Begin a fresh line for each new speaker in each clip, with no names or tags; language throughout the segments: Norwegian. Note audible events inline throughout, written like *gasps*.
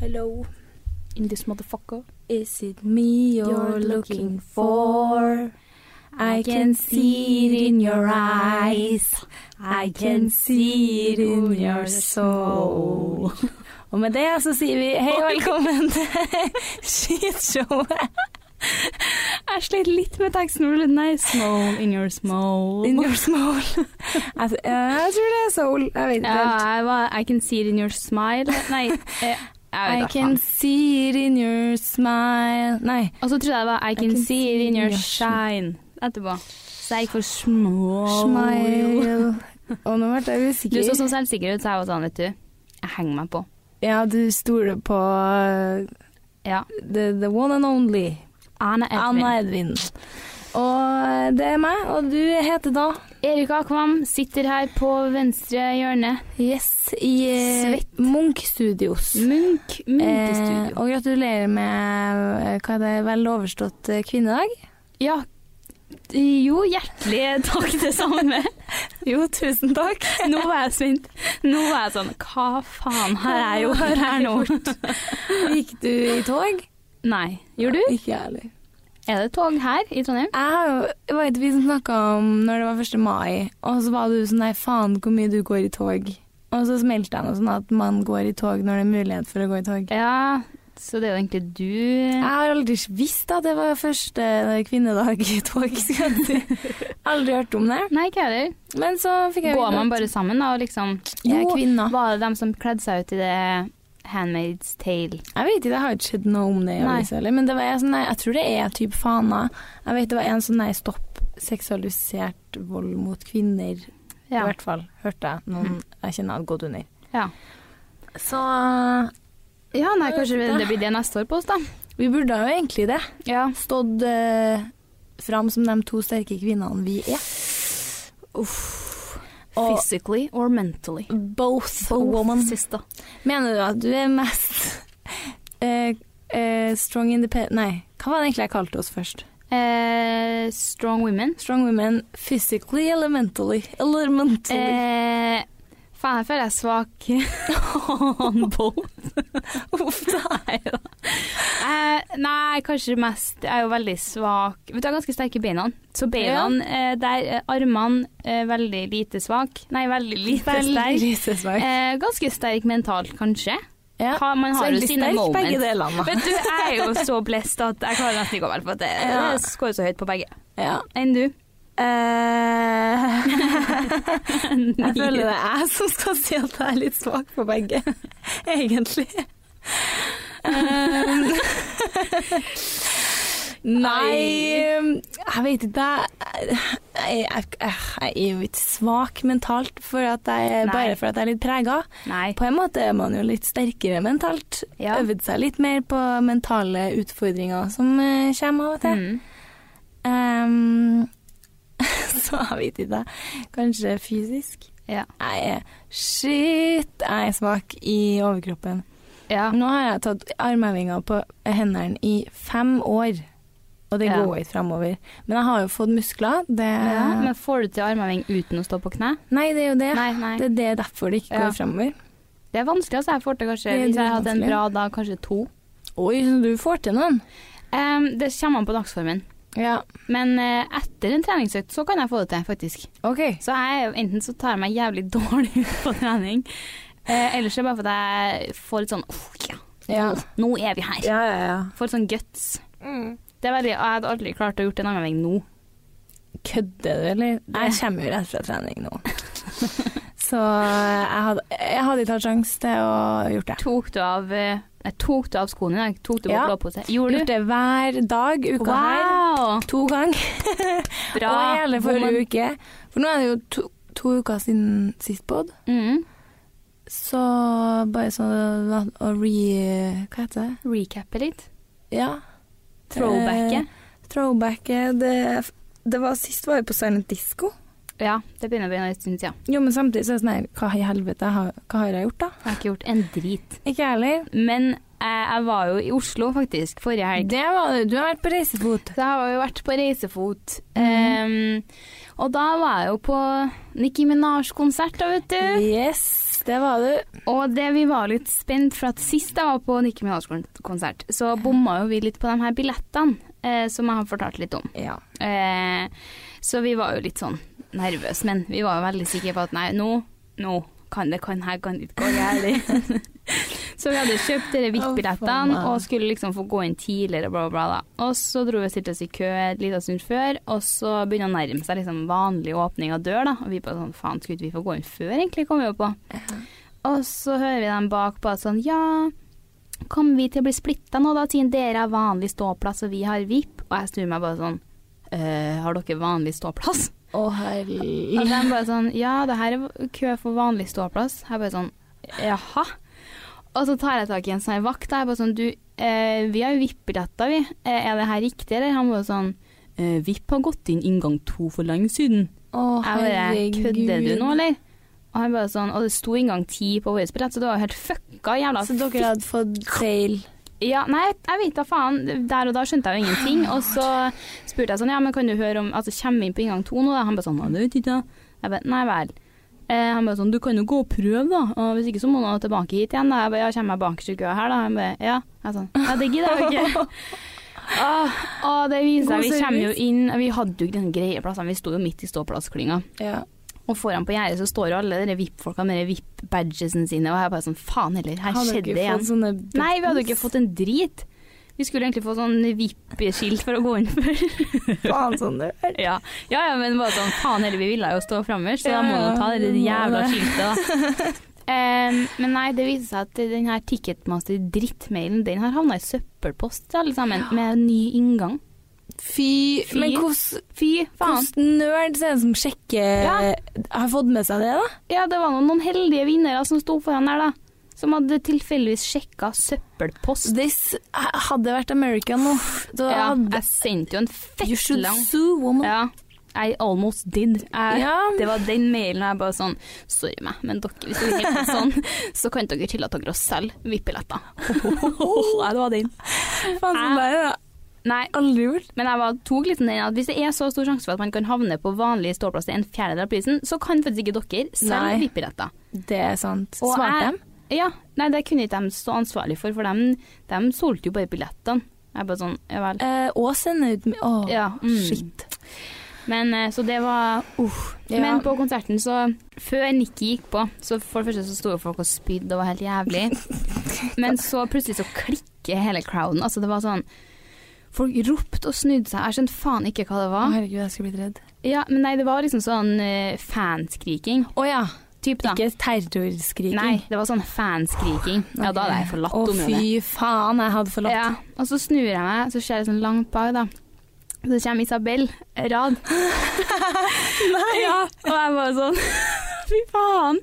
Hello,
In this motherfucker.
is it me you're looking for? I can see it in your eyes. I can see it in your
*laughs*
soul. *laughs* Og med det så sier vi hei og velkommen til *laughs* Skitshowet. Jeg slet litt med teksten. for det er Nei,
Small in your small.
in your soul. Jeg, eh, jeg tror det er soul. Jeg vet ikke
*laughs* ja,
helt.
jeg var I can see it in your smile.
*laughs*
Nei, eh, jeg
I
vet
can
ikke.
see it in your smile Nei.
Og så trodde jeg det var I can, see it in your shine etterpå. Så jeg gikk for small.
*laughs* Smile. Og nå ble jeg
Du
usikker.
så sånn selvsikker ut, så jeg var sånn, vet du. Jeg henger meg på.
Ja, du stoler på eh,
Ja.
the, the one and only
Anna Edvin.
Anna Edvin. Og det er meg, og du heter da
Erik Akvam sitter her på venstre hjørne.
Yes i eh,
Svett.
Munch Studios.
Munch, Munch i
Eh,
studio.
og gratulerer med eh, hva er det, vel overstått eh, kvinnedag.
Ja, jo, hjertelig takk det samme.
Jo, tusen takk.
Nå var jeg spent. Nå var jeg sånn, hva faen har jeg gjort her nå?
*gasps* Gikk du i tog?
Nei, gjorde du?
Ikke jeg heller.
Er det tog her i Trondheim?
Jeg har jo, det var ikke vi som snakka om når det var 1. mai, og så var du sånn nei, faen hvor mye du går i tog. Og så smelte jeg noe sånn at man går i tog når det er mulighet for å gå i tog.
Ja, så det er jo egentlig
Jeg
du.
har aldri visst at det var første eh, kvinnedag i tog. skal jeg si. Aldri hørt om det.
Nei, ikke heller.
Men så fikk jeg
Går man bare sammen da, og liksom?
Jeg er
Jo,
kvinne.
var det dem som kledde seg ut i det Handmaid's Tale?
Jeg vet ikke, det har ikke skjedd noe om det i
Nei.
avisa heller. Men det var jeg, sånn, nei, jeg tror det er type fana. Jeg vet det var en sånn nei, stopp seksualisert vold mot kvinner. I
Ja. Mm.
hvert fall hørte jeg noen jeg kjenner hadde gått under.
Ja.
Så eh,
Ja, nei, kanskje det blir det neste år på oss da.
vi burde jo egentlig det.
Ja.
Stått eh, fram som de to sterke kvinnene vi er. Og
Physically or mentally.
both,
Both,
woman.
sister.
Mener du at du er mest *laughs* eh, eh, strong independent Nei, hva var det egentlig jeg kalte oss først?
Eh, strong women.
Strong women physically eller mentally? Eller *laughs* mentally.
Eh, faen, jeg føler jeg er *laughs* svak on both.
*laughs* Uff da.
Nei da. Eh, nei, kanskje mest Jeg er jo veldig svak Vet du, jeg har ganske sterke beina. Så beina eh, der, eh, armene eh, veldig lite svak. Nei, veldig lite
Veldig
sterk.
lite svak.
Eh, ganske sterk mentalt, kanskje.
Eh, Ja.
Ha, man har jo
Veldig
sine
sterk begge
moments. *laughs*
delene.
Vet du, jeg er jo så blessed at jeg klarer nesten ikke å være på det.
Ja.
Jeg skårer så høyt på begge. Eh,
Ja.
Enn du?
*laughs*
*laughs*
jeg føler det er jeg som skal si at jeg er litt svak på begge, *laughs* egentlig. Um,
Eh,
Nei um, Jeg vet ikke. Jeg, jeg, jeg, jeg er jo ikke svak mentalt for at jeg,
Nei.
bare for at jeg er litt prega.
Nei.
På en måte er man jo litt sterkere mentalt.
Ja.
Øvd seg litt mer på mentale utfordringer som eh, kommer av og til.
Mm.
Ehm, *laughs* så jeg vet ikke. Kanskje fysisk.
Ja.
Jeg er shit, jeg er svak i overkroppen.
ja.
Nå har jeg tatt armhevinger på hendene i fem år, og det
Ja.
går ikke framover. Men jeg har jo fått muskler. Det,
Ja, men får du til armheving uten å stå på kne?
Nei, det er jo det.
Nei, nei.
Det er det derfor det ikke
Ja.
går framover.
Det er vanskelig, altså. Jeg får til kanskje,
Det er
hvis jeg har hatt en
dritvanskelig.
bra dag, kanskje to.
Oi, så du får til noen.
Em, det kommer an på dagsformen.
Ja,
Men eh, etter en treningsøkt så kan jeg få det til, faktisk.
OK.
Så jeg, er jo- enten så tar jeg meg jævlig *laughs* dårlig ut på trening, eh, eller så er det bare for at jeg får litt sånn «Åh, ja,
Ja,
nå er vi her.
ja, ja. ja.
Får litt sånn guts.
Mm.
Det er veldig, Jeg hadde aldri klart å gjort en armheving nå.
Kødder du, eller? Jeg kommer jo rett fra trening
*laughs*
nå. Så eh, jeg hadde, jeg hadde ikke hatt sjanse til å gjort det.
Tok du av, eh, nei, tok du av skoene i dag? Tok du på
Ja.
blåpose? Gjorde
Gjort
du?
det hver dag uka her.
Wow!
To ganger. *laughs*
Bra.
Og hele
Woman.
forrige uke. For nå er det jo to, to uker siden sist pod.
Mm.
Så bare sånn å re... Hva heter det?
Recappe litt.
Ja.
Throwbacket.
Eh, Throwbacket. Det, det var sist var jeg på Silent Disco.
Ja, det begynner å bli en stund siden.
Jo, men samtidig så er det sånn her, hva i helvete har, hva har jeg gjort da?
Jeg har ikke gjort en drit.
Ikke jeg heller.
Men eh, jeg var jo i Oslo faktisk forrige helg.
Det var det. Du har vært på reisefot.
Så jeg har jo vært på reisefot. Eh,
Mhm.
Ehm, og da var jeg jo på Nicki Minaj-konsert, da, vet du.
Yes. Det var du.
Og det vi var litt spent, for at sist jeg var på Nikki Minaj-konsert, så bomma jo vi litt på de her billettene, eh, som jeg har fortalt litt om.
Ja.
Eh, så vi var jo litt sånn nervøse, men vi var jo veldig sikre på at nei, nå, nå kan det kan her kan det ikke gå gærent. *laughs* så vi hadde kjøpt
Å,
dere
faen,
VIP-billettene
ja.
og skulle liksom få gå inn tidligere, bla, bla, bla. da. Og så dro vi og stilte oss i kø en liten stund før, og så begynner det å nærme seg liksom vanlig åpning av dør, da. Og vi bare sånn, faen, skulle ikke vi få gå inn før, egentlig, kom vi jo på. Og så hører vi dem bakpå at sånn, ja, kommer vi til å bli splitta nå da, siden dere har vanlig ståplass og vi har VIP? Og jeg snur meg bare sånn, «Eh, har dere vanlig ståplass?
Å,
Og
herlig.
de
*laughs*
bare sånn, ja, det her er kø for vanlig ståplass. Jeg bare sånn, jaha. Og så tar jeg tak i en sånn her vakt, da. jeg bare sånn, du, eh, vi har jo VIP-billetter vi, Eh, er det her riktig, eller? Han bare sånn, eh, VIP har gått inn inngang to for lenge siden.
Å,
Jeg bare,
herregud.
kødder du nå, eller? Og han bare sånn, og det sto inngang ti på vår billett, så det var jo helt fucka jævla
Så dere hadde fått feil.
ja, nei, jeg vet da faen. Der og da skjønte jeg jo ingenting. Og så spurte jeg sånn, ja, men kan du høre om Altså, kommer vi inn på inngang to nå, da? Han bare sånn, nei, det vet jeg ikke. Jeg bare, nei vel. Eh, han bare sånn, du kan jo gå og prøve, da. Og hvis ikke så må du tilbake hit igjen, da. Jeg bare, ja, kommer jeg bakerst i køa her, da? Han bare, ja. Jeg sånn, ja, det gidder jeg jo
*laughs*
ikke. Åh, åh, det viser
God
seg. Vi kommer jo
service.
inn Vi hadde jo ikke den greie plassen, vi sto jo midt i ståplassklynga.
Ja.
Og foran på gjerdet så står jo alle de VIP-folka med de VIP-badgesene sine, og jeg bare sånn, faen heller, her
Hadde
skjedde
dere
det igjen.
fått sånne
Nei, vi hadde jo ikke fått en drit. Vi skulle egentlig få sånn VIP-skilt for å gå inn før.
faen sånn du er.
ja. ja, ja, men bare sånn, faen heller, vi ville jo stå framme, så da
Ja,
må
ja,
vi ta det
vi må
jævla
det.
skiltet, da. *laughs* Em, men nei, det viser seg at den her Ticketmaster-drittmailen, den har havna i søppelpost, alle sammen, med ny inngang.
Fy,
Fy
Men hvordan
Fy faen.
hvordan nerds er det som sjekker
Ja.
Har fått med seg det, da?
Ja, det var noen, noen heldige vinnere som sto foran der, da. Som hadde tilfeldigvis sjekka søppelpost.
This hadde vært American nå. Da
Ja,
hadde
jeg sendte jo en
You
fett
should
lang
sue woman.
Ja. I almost did. Jeg,
*laughs* Ja.
Det var den mailen jeg bare sånn Sorry meg, men dere, hvis dere holder på sånn, *laughs* så kan dere tillate dere å selge VIP-billetter.
Oh,
Nei, det var den.
Faen, sånn der har jeg
Nei,
aldri gjort.
men jeg var tok litt den at hvis det er så stor sjanse for at man kan havne på vanlig ståplass til en fjerdedel av prisen, så kan faktisk ikke dere
Nei.
selge VIP-billetter.
Det er sant.
Og
Svarte
jeg-
dem?
Ja, nei, det kunne ikke de stå ansvarlig for, for de, de solgte jo bare billettene. Jeg bare sånn, ja vel.
Eh, og sende ut Å,
Ja, mm.
shit.
Men eh, så det var uff.
Ja.
Men på konserten så Før Nikki gikk på, så for det første så sto jo folk og spydde og var helt
*laughs*
jævlig. Men så plutselig så klikker hele crowden. Altså det var sånn Folk ropte og snudde seg. Jeg skjønte faen ikke hva det
Å,
var.
herregud, jeg skulle blitt redd.
Ja, men nei, det var liksom sånn eh, fanskriking.
Å ja.
Typ, da.
Ikke terrorskriking.
Nei, det var sånn fanskriking. Ja, da hadde jeg forlatt
Å,
området.
fy faen, jeg hadde forlatt. *laughs*
Ja, og så snur jeg meg, så ser jeg sånn langt bak, da. Så kommer Isabel Rad. Nei! Ja, og jeg bare sånn *laughs* Fy faen!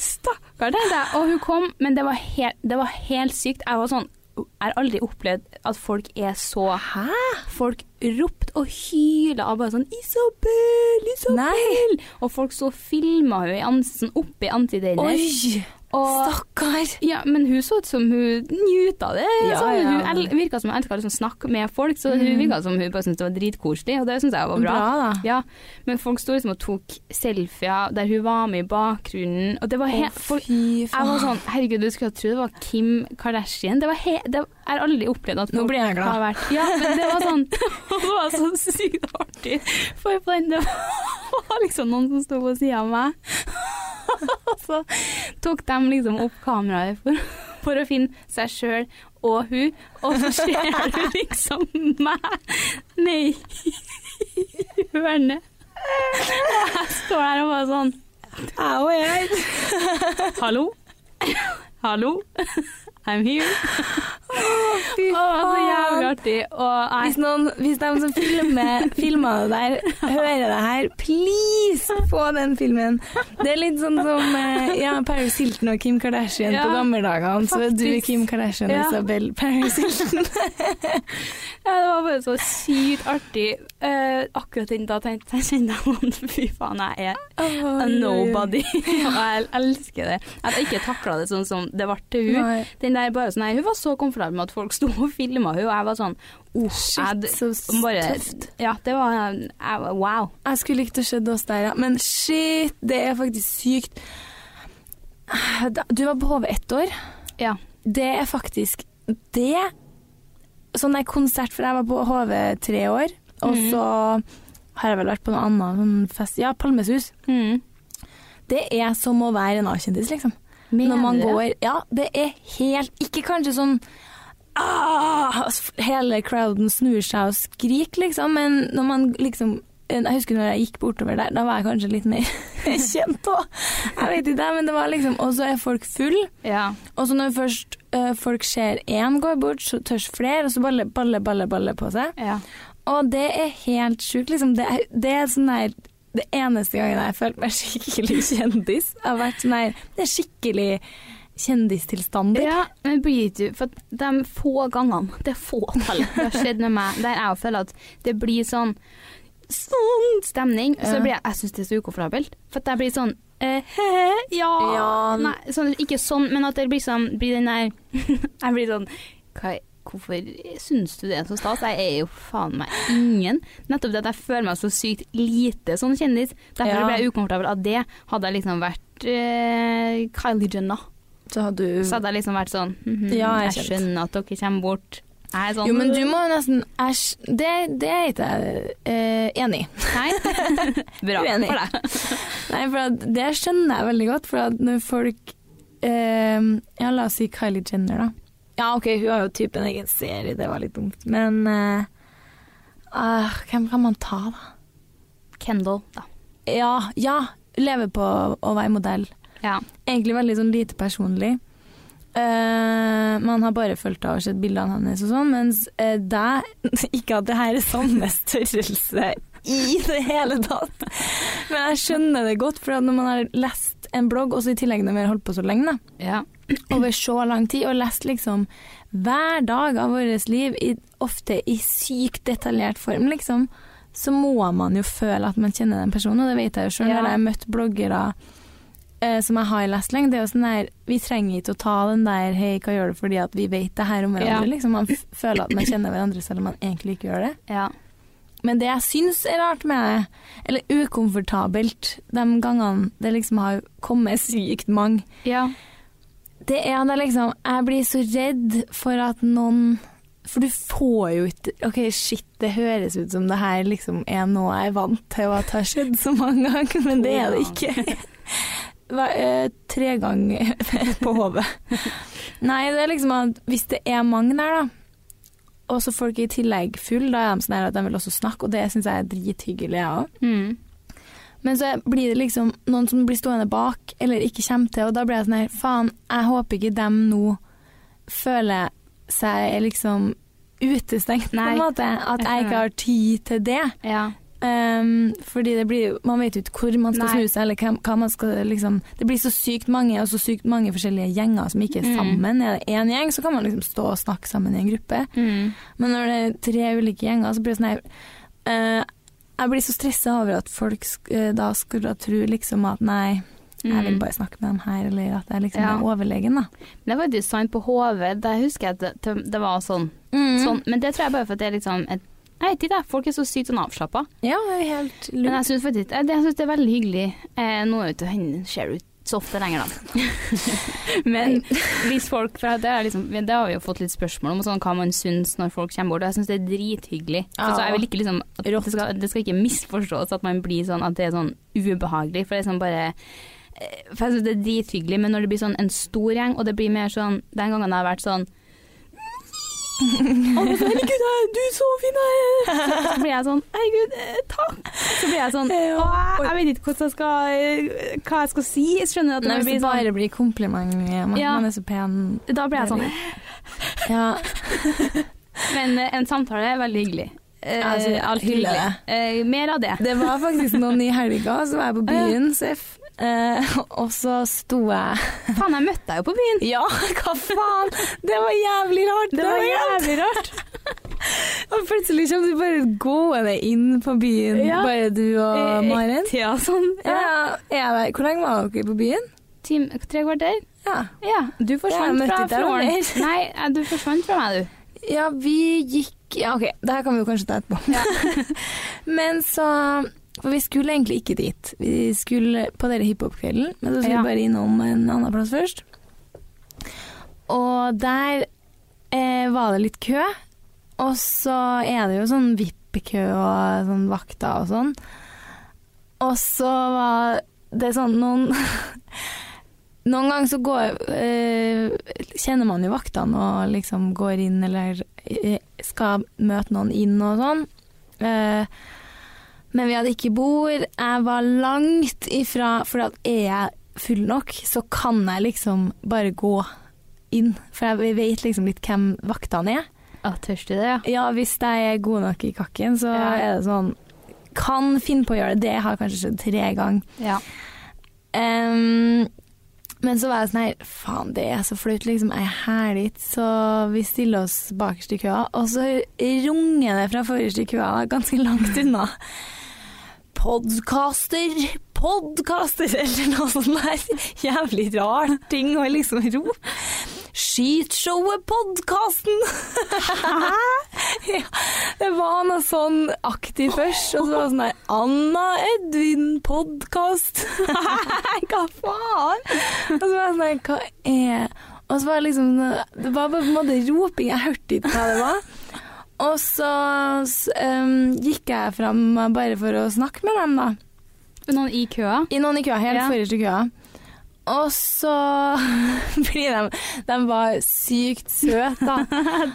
Stakkar, tenkte jeg. Og hun kom, men det var, helt, det var helt sykt. Jeg var sånn Jeg har aldri opplevd at folk er så
Hæ?
Folk ropte og hyla og bare sånn 'Isabel! Isabel!'
Nei!
Og folk så filma hun i ansiktet, sånn oppi ansiktet hennes.
Oi!
Og-
Stakkar!
ja, men hun så ut som hun njuta det.
Ja,
så hun
ja.
el virka som hun elska å liksom snakke med folk, så hun
Mm.
virka som hun bare syntes det var dritkoselig, og det syns jeg var bra.
da.
Ja, men folk sto liksom og tok selfier der hun var med i bakgrunnen, og det var
Å,
helt folk,
fy
Jeg var
faen.
sånn Herregud, du skulle ha trodd det var Kim Kardashian. Det var he det, Jeg har aldri opplevd at
Nå
folk
blir jeg glad.
har vært Ja, men det var
*laughs*
sånn *laughs* Det var så sykt artig. For på den, det var liksom noen som sto på sida av meg. *laughs* Og så tok de liksom opp kameraet for, for å finne seg sjøl og hun, og så ser du liksom meg ned i hjørnet. Og jeg står der og bare sånn
Au, jeg.
Hallo? Hallo? I'm here.
Fy
Å, så
faen.
jævlig artig. Og jeg
Hvis, noen, hvis de som
*laughs*
filmer, filmer det der, hører det her, please få den filmen. Det er litt sånn som eh, ja, Paris Hilton og Kim Kardashian
Ja,
på gammeldagene. Så er du
faktisk.
Kim Kardashian og
Ja.
Isabel Paris Hilton.
Ja, det var bare så sykt artig. Eh, akkurat den da tenkte jeg kjente jeg noen Fy faen, jeg er a *laughs* nobody. *laughs* Og jeg elsker det. At jeg ikke takla det sånn som det ble til hun.
Nei.
Den der bare sånn, nei, Hun var så komfortabel med at folk sto og filma hun, og jeg var sånn oh,
Shit,
jeg,
så s-
bare-
tøft.
Ja, det var jeg, var- Wow.
Jeg skulle likt å se oss der, ja. Men shit, det er faktisk sykt. Da- Du var på HV ett år.
Ja.
Det er faktisk det Sånn er konsert, for jeg var på HV tre år, og
Mhm.
så har jeg vel vært på noe annet sånn fest Ja, Palmesus.
Mm.
Det er som å være en A-kjendis, liksom. Når man går Ja, det er helt Ikke kanskje sånn ah, Hele crowden snur seg og skriker, liksom, men når man liksom jeg husker når jeg gikk bortover der, da var jeg kanskje litt mer *laughs* kjent òg. Jeg vet ikke, men det var liksom Og så er folk full,
Ja.
og så når først eh, folk ser én går bort, så tørs flere, og så baller, baller, baller, baller på seg.
ja.
Og det er helt sjukt, liksom. Det er, det er sånn der Det eneste gangen jeg har følt meg skikkelig kjendis, har vært sånn der Det er skikkelig kjendistilstander.
Ja, men blir du For at de få gangene, *laughs* det fåtallet det har skjedd med meg, der jeg føler at det blir sånn sånn stemning, så
Ja.
blir jeg Jeg syns det er så ukomfortabelt. For at jeg blir sånn eh, he-he, ja,
Ja.
Nei, sånn, ikke sånn, men at det blir sånn blir den der *laughs* Jeg blir sånn hva, Hvorfor syns du det er så stas? Jeg er jo faen meg ingen. Nettopp det at jeg føler meg så sykt lite sånn kjendis. Derfor
Ja.
ble jeg ukomfortabel av det. Hadde jeg liksom vært eh, Kylie Jenner
Så har du
så hadde jeg liksom vært sånn mhm,
Ja, jeg
jeg,
skjønner.
skjønner at dere kommer bort. Jeg er sånn
Jo, men du må jo nesten Æsj. Det, det er ikke jeg eh, enig i.
*laughs* Nei. *laughs* Bra
Uenig.
for deg.
Nei, for at det skjønner jeg veldig godt, for at når folk eh, Ja, la oss si Kylie Jenner, da. Ja, OK, hun har jo typen egen serie, det var litt dumt, men eh, ah, Hvem kan man ta, da?
Kendal, da.
Ja, ja. Leve på å være modell.
Ja.
Egentlig veldig sånn lite personlig. Eh, man har bare fulgt av og sett bildene hennes og sånn, mens uh, deg *laughs* Ikke at det her er samme størrelse i det hele tatt, men jeg skjønner det godt, for at når man har lest en blogg, og så i tillegg når vi har holdt på så lenge, da,
ja.
over så lang tid, og lest liksom hver dag av vårt liv, i, ofte i sykt detaljert form, liksom, så må man jo føle at man kjenner den personen, og det vet jeg jo sjøl.
Ja.
Når jeg har møtt bloggere eh, som jeg har lest lenge, det er jo sånn der Vi trenger ikke å ta den der 'hei, hva gjør du fordi at vi vet det her om hverandre',
Ja.
liksom. Man f føler at man kjenner hverandre selv om man egentlig ikke gjør det.
ja.
Men det jeg syns er rart med det, eller ukomfortabelt, de gangene det liksom har kommet sykt mange
Ja.
det er at jeg liksom Jeg blir så redd for at noen For du får jo ikke OK, shit, det høres ut som det her liksom er noe jeg er vant til at har skjedd så mange ganger, men det er det ikke. *laughs* Hva- eh, Tre ganger *laughs* på hodet. Nei, det er liksom at hvis det er mange der, da, og så folk er i tillegg full, da er de sånn her at de vil også snakke, og det syns jeg er drithyggelig, jeg òg.
Mm.
Men så blir det liksom noen som blir stående bak, eller ikke kommer til, og da blir jeg sånn her, faen, jeg håper ikke dem nå føler seg liksom utestengt,
Nei.
på en måte. At
Jeg
jeg
skjønner.
ikke har tid til det.
ja.
Um, fordi det blir jo Man vet jo ikke hvor man skal
Nei.
snu seg, eller hva, hva man skal liksom Det blir så sykt mange, og så sykt mange forskjellige gjenger som ikke er
Mm.
sammen. Er det én gjeng, så kan man liksom stå og snakke sammen i en gruppe.
Mm.
Men når det er tre ulike gjenger, så blir det sånn her eh, Jeg blir så stressa over at folk sk eh, da skulle tro liksom at nei, jeg vil
Mm.
bare snakke med dem her, eller at jeg liksom
Ja.
er overlegen, da.
Det var jo sant på HV. Der husker jeg at det- det, det var sånn. sånn. Men det tror jeg bare for at det er liksom et jeg vet ikke, jeg. folk er så sykt sånn avslappa.
Ja, det er helt
Men
lurt.
jeg syns faktisk jeg- jeg synes det er veldig hyggelig. Eh, nå er jo ikke henne ser ut så ofte lenger, da.
*laughs*
Men hvis folk For det, er liksom, det har vi jo fått litt spørsmål om, og sånn, hva man syns når folk kommer bort. Og jeg syns det er drithyggelig.
Ja.
Altså, jeg vil ikke liksom at
Rått.
det, skal, det skal ikke misforstås at man blir sånn at det er sånn ubehagelig. For det er sånn bare eh, For jeg syns det er drithyggelig, men når det blir sånn en stor gjeng, og det blir mer sånn Den gangen jeg har vært sånn Alle sånn, Herregud, jeg- du er så fin! jeg er!» *laughs* Så, så blir jeg sånn Herregud, eh, takk! Så blir jeg *laughs* sånn
Ja.
«Åh, jeg vet ikke hvordan jeg skal, eh, hva jeg skal si. Jeg skjønner at
Nei,
det
hvis det
blir sånn
bare blir kompliment om at
Ja.
man er så pen
Da blir jeg sånn
Ja, *laughs*
Men eh, en samtale er veldig hyggelig. Eh,
Altså,
alt
hyggelig.
hyggelig. Eh, mer av det.
Det var faktisk noen i helga, så var jeg på byen, Seff. Eh, og så sto jeg
*laughs* Faen, jeg møtte deg jo på byen.
Ja, *laughs* hva faen! Det var jævlig rart!
Det var
jævlig
jævlig rart.
Og plutselig kommer du bare gående inn på byen,
Ja.
bare du og Maren.
*laughs* Ja, sånn. Ja.
Eh, Ja, jeg vet, hvor lenge var dere på byen?
Tim, tre kvarter.
Ja.
Ja, du
Jeg
forsvant
møtte
fra
ikke deg
floren.
mer.
Nei, eh, du forsvant fra meg, du.
ja, vi gikk Ja, OK, det her kan vi jo kanskje ta etterpå. *laughs* Men så For vi skulle egentlig ikke dit. Vi skulle på denne hiphop-kvelden, men så skulle
Ja.
vi bare innom en annen plass først. Og der eh, var det litt kø, og så er det jo sånn vippekø og sånn vakter og sånn. Og så var det sånn noen *laughs* Noen ganger så går, eh, kjenner man jo vaktene og liksom går inn eller eh, skal møte noen inn og sånn. Eh, men vi hadde ikke bord. Jeg var langt ifra For at er jeg full nok, så kan jeg liksom bare gå inn. For jeg vet liksom litt hvem vaktene er.
Ja, tørs du det, ja?
Ja, hvis jeg er god nok i kakken, så
Ja.
er det sånn Kan finne på å gjøre det. Det har kanskje skjedd tre ganger.
Ja.
Ehm, men så var jeg sånn her Faen, det er så flaut, liksom. Jeg er her dit, så vi stiller oss bakerst i køa. Og så runger det fra forreste i køa, ganske langt unna. Podkaster, podkaster, *laughs* eller noe sånt der. Jævlig rar ting å liksom rope. Skytshowet Podkasten! *laughs* ja, det var noe sånn aktig først, og så var det sånn der Anna Edvin Podkast. Nei, hva faen? Og så var jeg sånn der, hva er Og så var det liksom Det var bare på en måte roping, jeg hørte ikke hva det var. Og så s- em, gikk jeg fram bare for å snakke med dem, da.
Noen i køa?
I noen i køa, helt
Ja.
forrest i køa. Og så *laughs* blir de De var sykt søte,
*laughs*
da.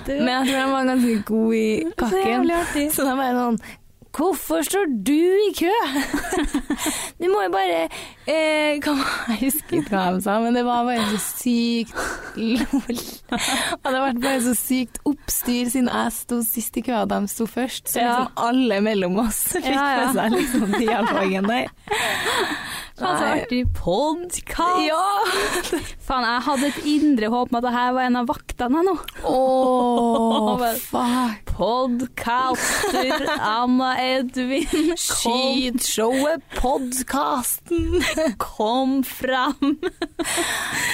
Men jeg tror de var ganske gode i
Så
kakken.
jævlig artig.
Så da var jeg sånn Hvorfor står du i kø? *laughs* du må jo bare eh, hva var- Jeg husker ikke hva de sa, men det var bare så sykt lol. Og det ble bare så sykt oppstyr siden jeg sto sist i køa og de sto først. Så
Ja.
liksom alle mellom oss fikk
Ja, ja.
med seg liksom dialogen der.
Faen, så
Nei.
altså, artig podkast!
Ja!
Faen, jeg hadde et indre håp om at dette var en av vaktene nå.
*laughs* Åh,
Men-
fuck.
Podcaster Anna Edvin, kom,
Skytshowet Podkasten.
kom fram!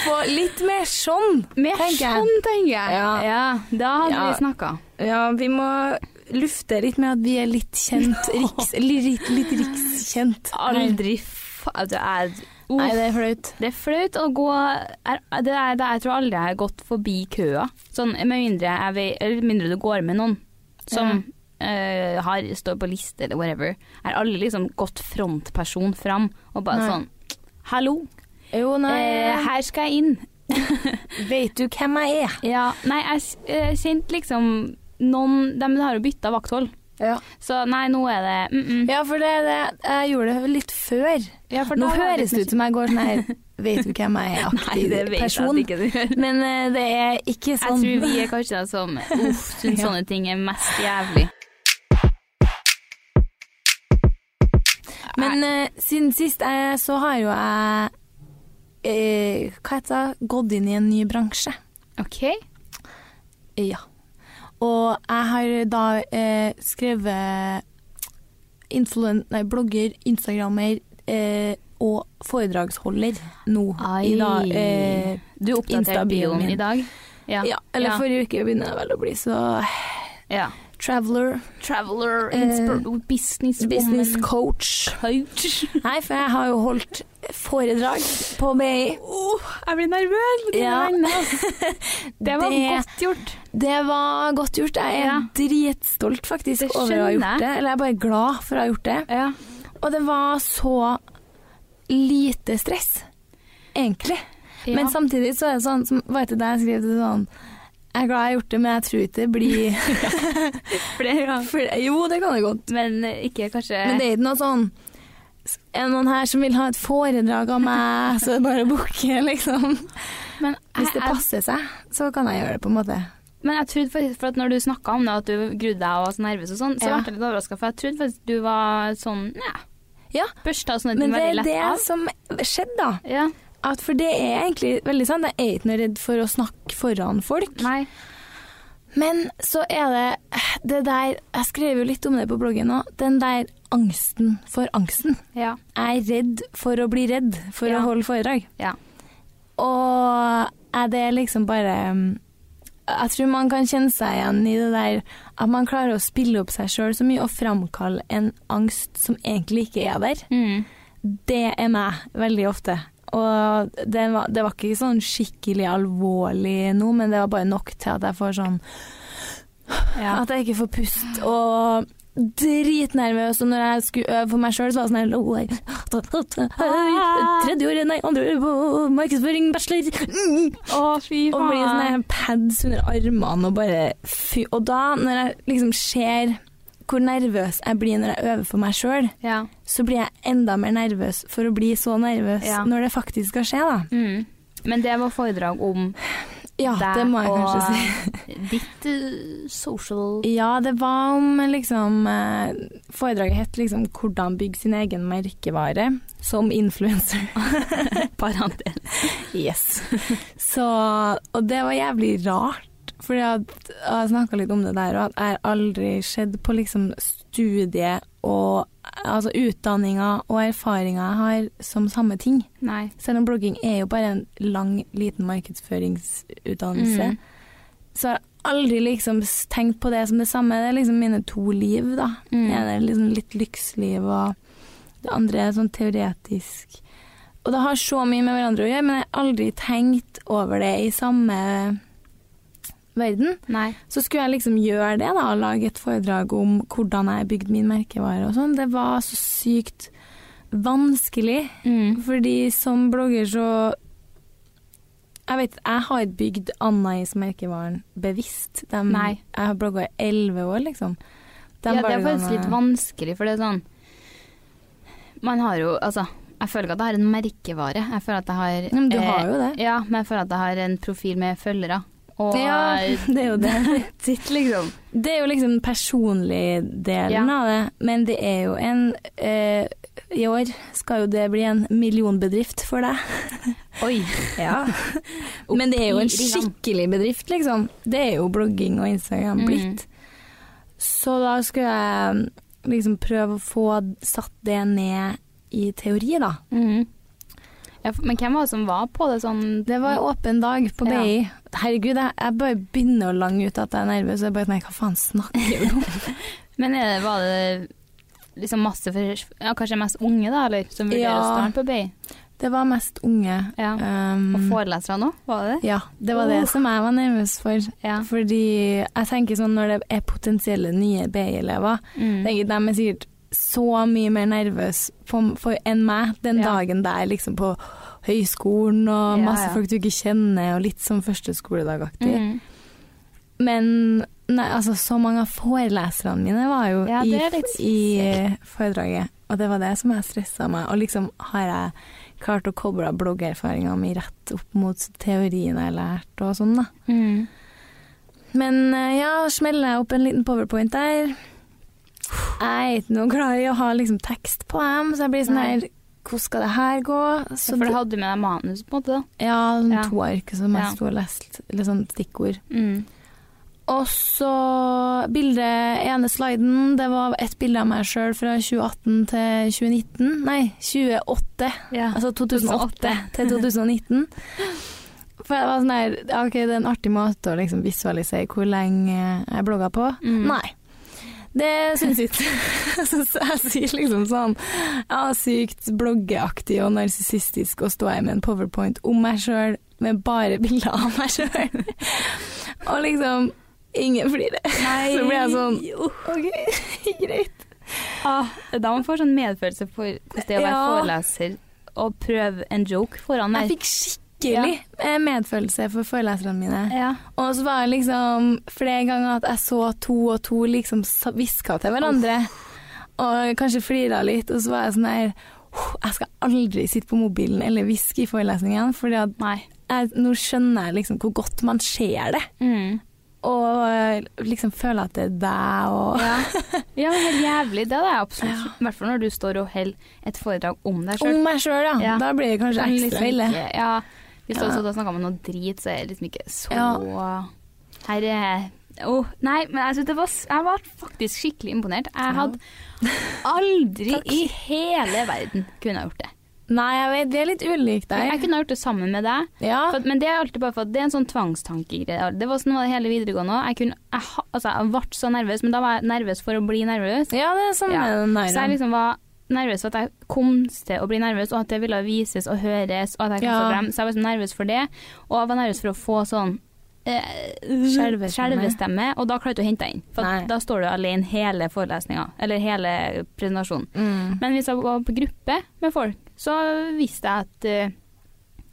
Få litt mer sånn.
Mer
Tenker jeg.
sånn, tenker jeg.
Ja.
da hadde
Ja.
vi snakka.
Ja, vi må lufte litt med at vi er litt
*laughs*
kjent. Riks, litt, litt rikskjent.
Aldri fa... Det er, uff.
Nei, det er flaut.
det er flaut å gå er, det er, det er, Jeg tror aldri jeg har gått forbi køa. Sånn, med mindre, jeg vet, eller mindre du går med noen som eh, har, står på liste eller whatever. Er alle liksom gått frontperson fram og bare
Nei.
sånn Hallo,
Jo,
eh,
nei,
her skal jeg inn.
vet du hvem jeg er?
Ja, nei, jeg s- eh, kjente liksom noen De har jo bytta vakthold.
Ja.
Så nei, nå er det mm -mm.
for det, det, jeg gjorde det litt før.
Ja, for
Nå
da var
høres det
liksom
ut som jeg går sånn
*laughs*
her, vet du hvem jeg er,
ikke- Nei,
aktiv
det vet
person.
jeg at ikke du gjør.
Men eh, det er ikke
*laughs* Jeg
sånn.
tror vi er kanskje de som uff, *laughs* syns
Ja.
sånne ting er mest jævlig.
Men eh, siden sist eh, så har jo jeg eh, Hva heter det? Gått inn i en ny bransje.
OK?
Ja. Og jeg har da eh, skrevet influen nei, blogger, instagrammer eh, og foredragsholder nå. I dag. Eh,
du oppdaterte
Insta-bioen
bioen
min.
i dag? Ja.
ja, eller forrige uke begynner jeg vel å bli, så
ja.
Traveler,
Traveler,
Eh,
inspir- business, *laughs*
business
woman,
coach.
coach
Nei, for jeg har jo holdt foredrag på BI.
Oh, Jeg blir nervøs!
det
*laughs* Ja. Det var
Det-
godt gjort.
Det var godt gjort. Jeg er
Ja.
dritstolt faktisk
Det
over å ha
skjønner jeg.
gjort det. Eller jeg er bare glad for å ha gjort det.
Ja.
Og det var så lite stress, egentlig.
Ja.
Men samtidig så er det sånn, som var det der jeg skrev det sånn Jeg er glad jeg har gjort det, men jeg tror ikke det blir
*laughs*
*laughs*
flere ganger.
for, Jo, det kan det godt.
Men eh, ikke kanskje
Men det er ikke noe sånn Er det noen her som vil ha et foredrag av meg, så er det bare å booke, *laughs* liksom.
Men
Hvis det
jeg- jeg-
passer seg, så kan jeg gjøre det, på en måte.
Men jeg trodde faktisk, for at når du snakka om det, at du grudde deg og var så nervøs og sånn, så
Ja.
ble jeg litt overraska, for jeg trodde faktisk du var sånn ja,
Ja.
børsta sånn og sånne
Men
ting
det
veldig
er
lett
det
av.
som skjedde, da.
Ja.
At for det er egentlig veldig sant. Jeg er ikke noe redd for å snakke foran folk.
Nei.
Men så er det det der Jeg skrev jo litt om det på bloggen nå. Den der angsten for angsten.
Ja.
Jeg er redd for å bli redd for
Ja.
å holde foredrag.
Ja.
Og er det liksom bare mm, jeg tror man kan kjenne seg igjen i det der at man klarer å spille opp seg sjøl så mye og framkalle en angst som egentlig ikke er der.
Mm.
Det er meg veldig ofte. Og det var, det var ikke sånn skikkelig alvorlig nå, men det var bare nok til at jeg får sånn
Ja.
At jeg ikke får pust og dritnervøs. Og når jeg skulle øve for meg sjøl, så var det sånn her «Åh, jeg- Tredje året, nei, andre året på markedsføring,
*laughs*
bachelor. Mm.
Å, fy
Og blir sånn
faen.
her pads under armene og bare fy. Og da, når jeg liksom ser hvor nervøs jeg blir når jeg øver for meg sjøl,
Ja.
så blir jeg enda mer nervøs for å bli så nervøs
Ja.
når det faktisk skal skje, da.
Mm. Men det var foredrag om
Ja,
deg
det må jeg
og
kanskje si.
*laughs* ditt eh, social
Ja, det var om liksom eh, Foredraget het liksom 'Hvordan bygge sin egen merkevare som influenser'.
*laughs* parentes.
yes. *laughs* Så, og det var jævlig rart. Fordi at, jeg snakka litt om det der, og at jeg har aldri sett på liksom studiet og altså utdanninga og erfaringa jeg har som samme ting.
Nei.
Selv om blogging er jo bare en lang, liten markedsføringsutdannelse.
Mm.
Så har jeg aldri liksom s- tenkt på det som det samme. Det er liksom mine to liv, da.
Mm.
Det ene er liksom litt lyksliv, og det andre er sånn teoretisk. Og det har så mye med hverandre å gjøre, men jeg har aldri tenkt over det i samme verden.
Nei.
Så skulle jeg liksom gjøre det, da, og lage et foredrag om hvordan jeg bygde min merkevare og sånn. Det var så sykt vanskelig.
Mm.
Fordi som blogger så Jeg vet, jeg har bygd Anna-Is merkevaren bevisst. Dem-
Nei.
Jeg har blogga i elleve år, liksom. sånn, Dem
ja, det er faktisk
valgene-
litt vanskelig, for det er sånn Man har jo Altså, jeg føler ikke at jeg har en merkevare. Jeg føler at jeg har eh,
Ja, Men du har jo det.
Ja, men jeg føler at jeg har en profil med følgere. Og
Ja, *laughs* det er jo det.
Sitt, liksom.
Det er jo liksom den personlige delen
Ja.
av det, men det er jo en eh, I år skal jo det bli en millionbedrift for deg.
Oi. *laughs*
Ja. Men det er jo en
Opp i ringa.
skikkelig bedrift, liksom. Det er jo blogging og Instagram
Mm.
blitt. Så da skulle jeg liksom prøve å få satt det ned i teori, da.
Mhm. Ja, for- men hvem var det som var på det sånn
Det var åpen dag på
Ja.
BI. Herregud, jeg, jeg bare begynner å lange ut at jeg er nervøs. Og jeg bare Nei, hva faen snakker du om?
Men er det, var det liksom masse for ja, Kanskje mest unge, da, eller? Som vurderer å
Ja.
starte på BI?
det var mest unge.
Ja.
Um,
Og forelesere nå, var det det?
ja, det var det
Uh.
som jeg var nervøs for.
Ja.
Fordi jeg tenker sånn når det er potensielle nye BI-elever,
Mm.
Tenker, de er sikkert så mye mer nervøse for, for enn meg den
Ja.
dagen der liksom på høyskolen og
Ja,
masse
ja.
folk du ikke kjenner, og litt sånn første skoledagaktig.
Mhm.
Men nei, altså, så mange av foreleserne mine var jo
Ja, det er
i,
litt
i foredraget, og det var det som jeg stressa meg. Og liksom har jeg klart å koble bloggerfaringa mi rett opp mot teorien jeg har lært og sånn, da.
Mhm.
Men eh, ja, smeller jeg opp en liten powerpoint der. Jeg er ikke noe glad i å ha liksom, tekst på dem, så jeg blir sånn
Nei.
her Hvordan skal det her gå? Så
ja, for
det-
du hadde med deg manus, på en måte? da.
ja, sånn
Ja.
to ark som jeg
Ja.
sto og leste, eller sånn stikkord.
Mm.
Og så bildet ene sliden, det var et bilde av meg sjøl fra 2018 til 2019. Nei, 28.
Ja.
Altså 2008 til 2019. For jeg var sånn her ja, OK, det er en artig måte å liksom visualisere hvor lenge jeg blogga på.
Mm.
Nei. Det syns ikke *laughs* Så jeg sier liksom sånn Ja, sykt bloggeaktig og narsissistisk å stå her med en powerpoint om meg sjøl, med bare bilder av meg sjøl. *laughs* Og liksom Ingen flirer. *laughs*
Nei.
Så ble jeg sånn OK, greit.
Ah, da man får sånn medfølelse for hvordan det er å være
Ja.
foreleser og prøve en joke foran
Jeg
der.
fikk skikkelig eh, medfølelse for foreleserne mine.
Ja.
Og så var det liksom flere ganger at jeg så to og to liksom hviska til hverandre. Og kanskje flira litt, og så var jeg sånn her «Åh, Jeg skal aldri sitte på mobilen eller hviske i forelesningen, for
Nei.
nå skjønner jeg liksom hvor godt man ser det.
Mm.
Og eh, liksom føler at det er deg og
Ja. ja, men helt jævlig. Det hadde jeg absolutt. I hvert fall når du står og holder et foredrag om deg
*laughs*
sjøl.
Om meg sjøl, ja.
Ja.
Da blir det kanskje ekstra ille.
liksom ja, hvis du
Ja.
også snakker om noe drit, så er det liksom ikke så
Ja.
Her er Åh, nei, men jeg, synes det var, s- jeg var faktisk skikkelig imponert. Jeg
Ja.
hadde aldri
Takk.
i hele verden kunne ha gjort det.
Nei, jeg vet, det er litt ulikt
Jeg
deg.
kunne ha gjort det sammen med deg,
Ja.
for, men det er alltid bare for at det er en sånn tvangstankegreie. Det var sånn var det hele videregående òg. Jeg, kunne- jeg, ha- altså, jeg ble så nervøs, men da var jeg nervøs for å bli nervøs.
ja, det er sånn
Ja.
med den
Så jeg
der.
liksom var nervøs for at jeg kom til å bli nervøs, og at det ville vises og høres. Og at jeg kom
Ja.
så frem. Så jeg var så nervøs for det, og jeg var nervøs for å få sånn eh,
Skjelvestemme.
skjelvestemme, og da klarer du ikke å hente deg inn. For at
Nei.
da står du alene hele forelesninga, eller hele presentasjonen.
Mm.
Men hvis jeg var på gruppe med folk, så visste jeg at eh,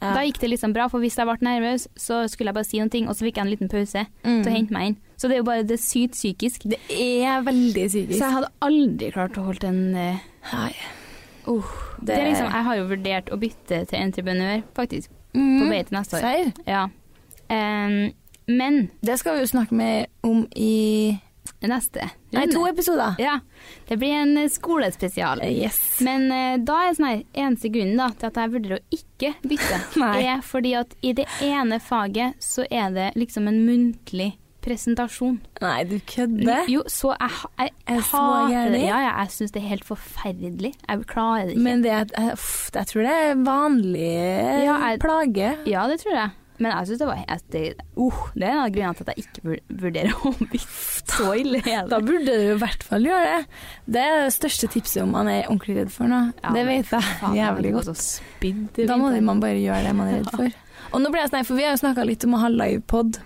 Ja.
Da gikk det liksom bra, for hvis jeg ble nervøs, så skulle jeg bare si noen ting, og så fikk jeg en liten pause
Mm.
til å hente meg inn. Så det er jo bare det er sykt psykisk.
Det er veldig psykisk.
Så jeg hadde aldri klart å holde en eh,
Nei.
Uh,
det,
det er liksom, jeg har jo vurdert å bytte til entreprenør, faktisk, på vei til neste år.
Mm. Serr?
Ja. Em, men
Det skal vi jo snakke med om i
neste
Nei, to episoder.
Ja. Det blir en eh, skolespesial.
Yes.
Men eh, da er sånn her, eneste grunnen da, til at jeg vurderer å ikke bytte, *laughs*
Nei.
er fordi at i det ene faget så er det liksom en muntlig presentasjon.
Nei, du kødder.
Mm, Jo, så jeg, ha- jeg,
Jeg så
hater det.
gjerne.
Ja, ja, jeg syns det er helt forferdelig. Jeg klarer det ikke.
Men det er, eh, uff, jeg tror det er vanlig eh,
Ja, jeg-
plage.
Ja, det tror jeg. Men jeg synes det var at det, uh, det er en av grunnene til at jeg ikke vur- vurderer å bytte så ille. er
Da
det.
burde du i hvert fall gjøre det. Det er det største tipset om man er ordentlig redd for noe.
Ja,
det
men
vet jeg
Faen,
jævlig
jeg
godt.
hadde gått og spydd i
Da må
vinteren.
man bare gjøre det man er redd *laughs* for. Og nå ble jeg sånn, for Vi har jo snakka litt om å ha livepod.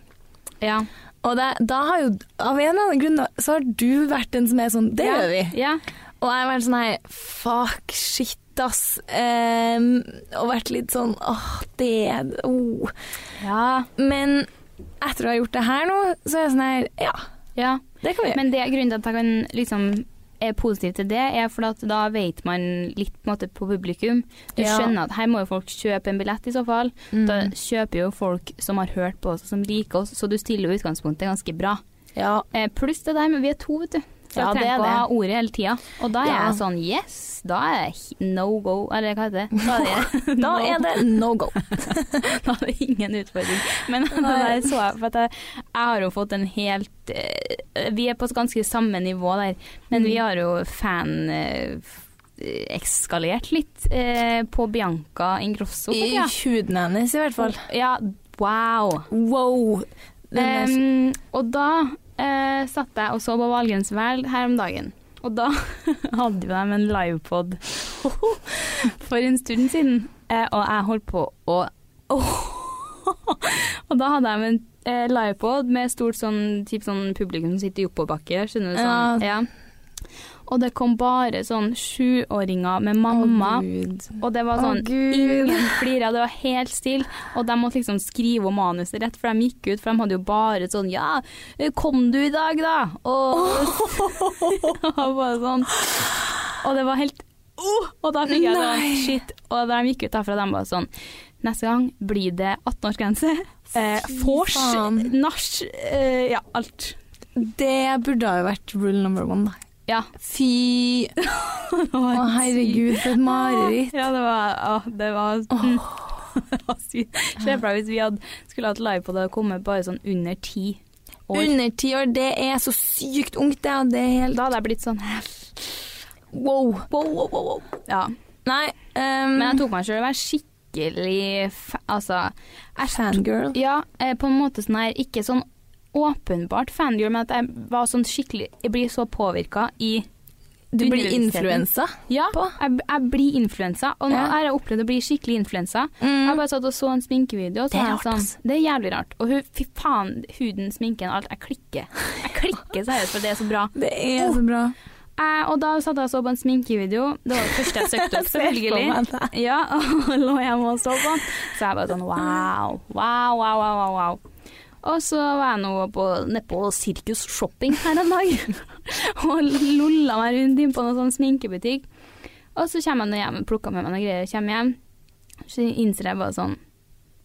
Ja.
Og det, da har jo, av en eller annen grunn så har du vært den som er sånn Det
ja.
gjør vi.
Ja.
Og jeg har vært sånn her Fuck, shit, ass. Ehm, og vært litt sånn Åh, det oh.
Ja.
Men etter å ha gjort det her nå, så er jeg sånn her Ja,
ja.
det kan vi gjøre.
Men det, grunnen til at jeg kan liksom er positiv til det, er fordi at da vet man litt på, en måte, på publikum. Du
Ja.
skjønner at her må jo folk kjøpe en billett i så fall.
Mm.
Da kjøper jo folk som har hørt på oss, og som liker oss, så du stiller jo utgangspunktet ganske bra.
Ja,
Eh, Pluss det der med vi er to, vet du. Så
Ja,
jeg
det er
trenger ikke å ha
det.
ordet hele tida. Og da er
Ja.
jeg sånn yes, da er det he- no go, eller hva heter det? *laughs* Da er det,
*laughs* da er det no
*laughs*
go.
da er det ingen utfordring. Men det
Nei.
der så jeg, for at jeg, jeg har jo fått en helt eh, Vi er på et ganske samme nivå der, men
Mm.
vi har jo fan... eh, f- Ekskalert litt eh, på Bianca Ingrosso. for
I
tida.
huden hennes, i hvert fall.
Ja, wow.
Wow. Den der-
Ehm, og da eh, satt jeg og så på Valgrens Væl her om dagen. Og da *laughs* hadde jo de en livepod *laughs* for en stund siden, eh, og jeg holdt på å *laughs* Og da hadde de en eh, livepod med stort sånn, typ sånn publikum som sitter i oppoverbakke, skjønner du sånn. Ja. Og det kom bare sånn sjuåringer med mamma,
sånn- Å, Gud.
og det var sånn
Å, Gud.
Ingen flira, det var helt stille. Og de måtte liksom skrive om manuset rett før de gikk ut, for de hadde jo bare sånn Ja, kom du i dag, da?
*laughs*
Og, *laughs* og bare sånn. Og det var helt «Åh!» Og da fikk jeg sånn
Nei.
shit. Og da de gikk ut derfra, de bare sånn Neste gang blir det 18-årsgrense. Eh,
Fy
Vors,
faen.
nach, eh, ja, alt. *laughs*
Det burde ha jo vært rule number one, da.
Ja.
Fy Å, herregud, for et mareritt.
Ja, det var, ja, det var, mm. *laughs* det var sykt. Se for deg hvis vi hadde, skulle hatt live på det og kommet bare sånn under ti år.
Under ti år, det er så sykt ungt, det. og Det er helt
Da hadde jeg blitt sånn
wow. Wow, wow, wow, wow.
Ja.
Nei,
Men jeg
um,
tok meg sjøl i å være skikkelig fa Altså jeg,
fangirl.
Ja, eh, på en måte sånn her Ikke sånn åpenbart fangirl, men at jeg var sånn skikkelig Jeg blir så påvirka i
Du blir
underbevisstheten.
influensa.
Ja,
på.
jeg, jeg blir influensa. Og nå
Ja.
har jeg opplevd å bli skikkelig influensa.
Mm.
Jeg bare satt og så en sminkevideo. Og så
Det er
var jeg
rart,
sånn,
ass.
Det er jævlig rart. Og hun, fy faen, huden, sminken, alt. Jeg klikker. Jeg klikker seriøst, for det er så bra.
Det er så *laughs* bra.
Eh, og da satt jeg og så på en sminkevideo. Det var det første jeg
*laughs*
søkte opp, selvfølgelig.
Selvfølgelig.
Ja, *laughs* og lå hjemme og så på den. Så jeg bare sånn wow, wow, wow, wow, wow. wow. Og så var jeg nå på, nede på Sirkus Shopping her en dag, *laughs* og lolla meg rundt inn på noen sånn sminkebutikk. Og så kommer jeg nå hjem, plukker med meg noen greier, kommer hjem. Så innser jeg bare sånn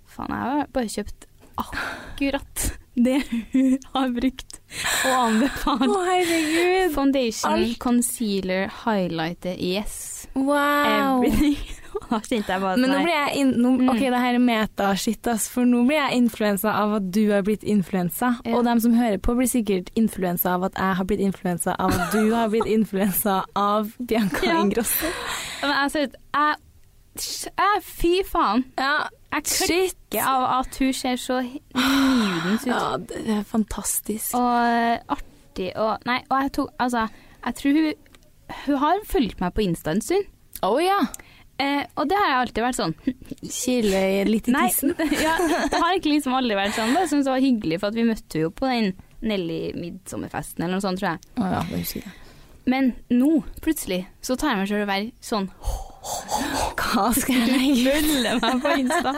Faen, jeg har bare kjøpt akkurat *laughs* det hun har brukt og
Å,
anbefalt.
herregud.
Foundation,
Alt.
concealer, highlighter, yes.
Wow.
Everything. da kjente jeg bare
Men *laughs* nå
sånn
blir jeg in nå,
Mm.
Ok, det her er meta-shit, ass, for nå blir jeg influensa av at du har blitt influensa.
Ja.
Og dem som hører på, blir sikkert influensa av at jeg har blitt influensa av at du har blitt influensa av Bianca
Ja.
Ingrosso.
her, Men altså, jeg ser ut jeg Eh, Fy faen.
Ja,
Jeg
shit.
klikker av at hun ser så nydens ut.
Ja, det er fantastisk.
Og artig og Nei, og jeg tok Altså, jeg tror hun Hun har fulgt meg på Insta en stund.
Å ja.
Eh, og det har jeg alltid vært sånn.
Kile litt i
Nei,
tissen.
*laughs* ja, det har egentlig liksom aldri vært sånn. Bare syns det var hyggelig, for at vi møtte henne jo på den Nelly midtsommerfesten eller noe sånt, tror jeg.
Å ja, det husker jeg.
Men nå, plutselig, så tar jeg meg selv i å være sånn
Hva skal jeg
*laughs*
legge
Følge meg på *laughs* Insta.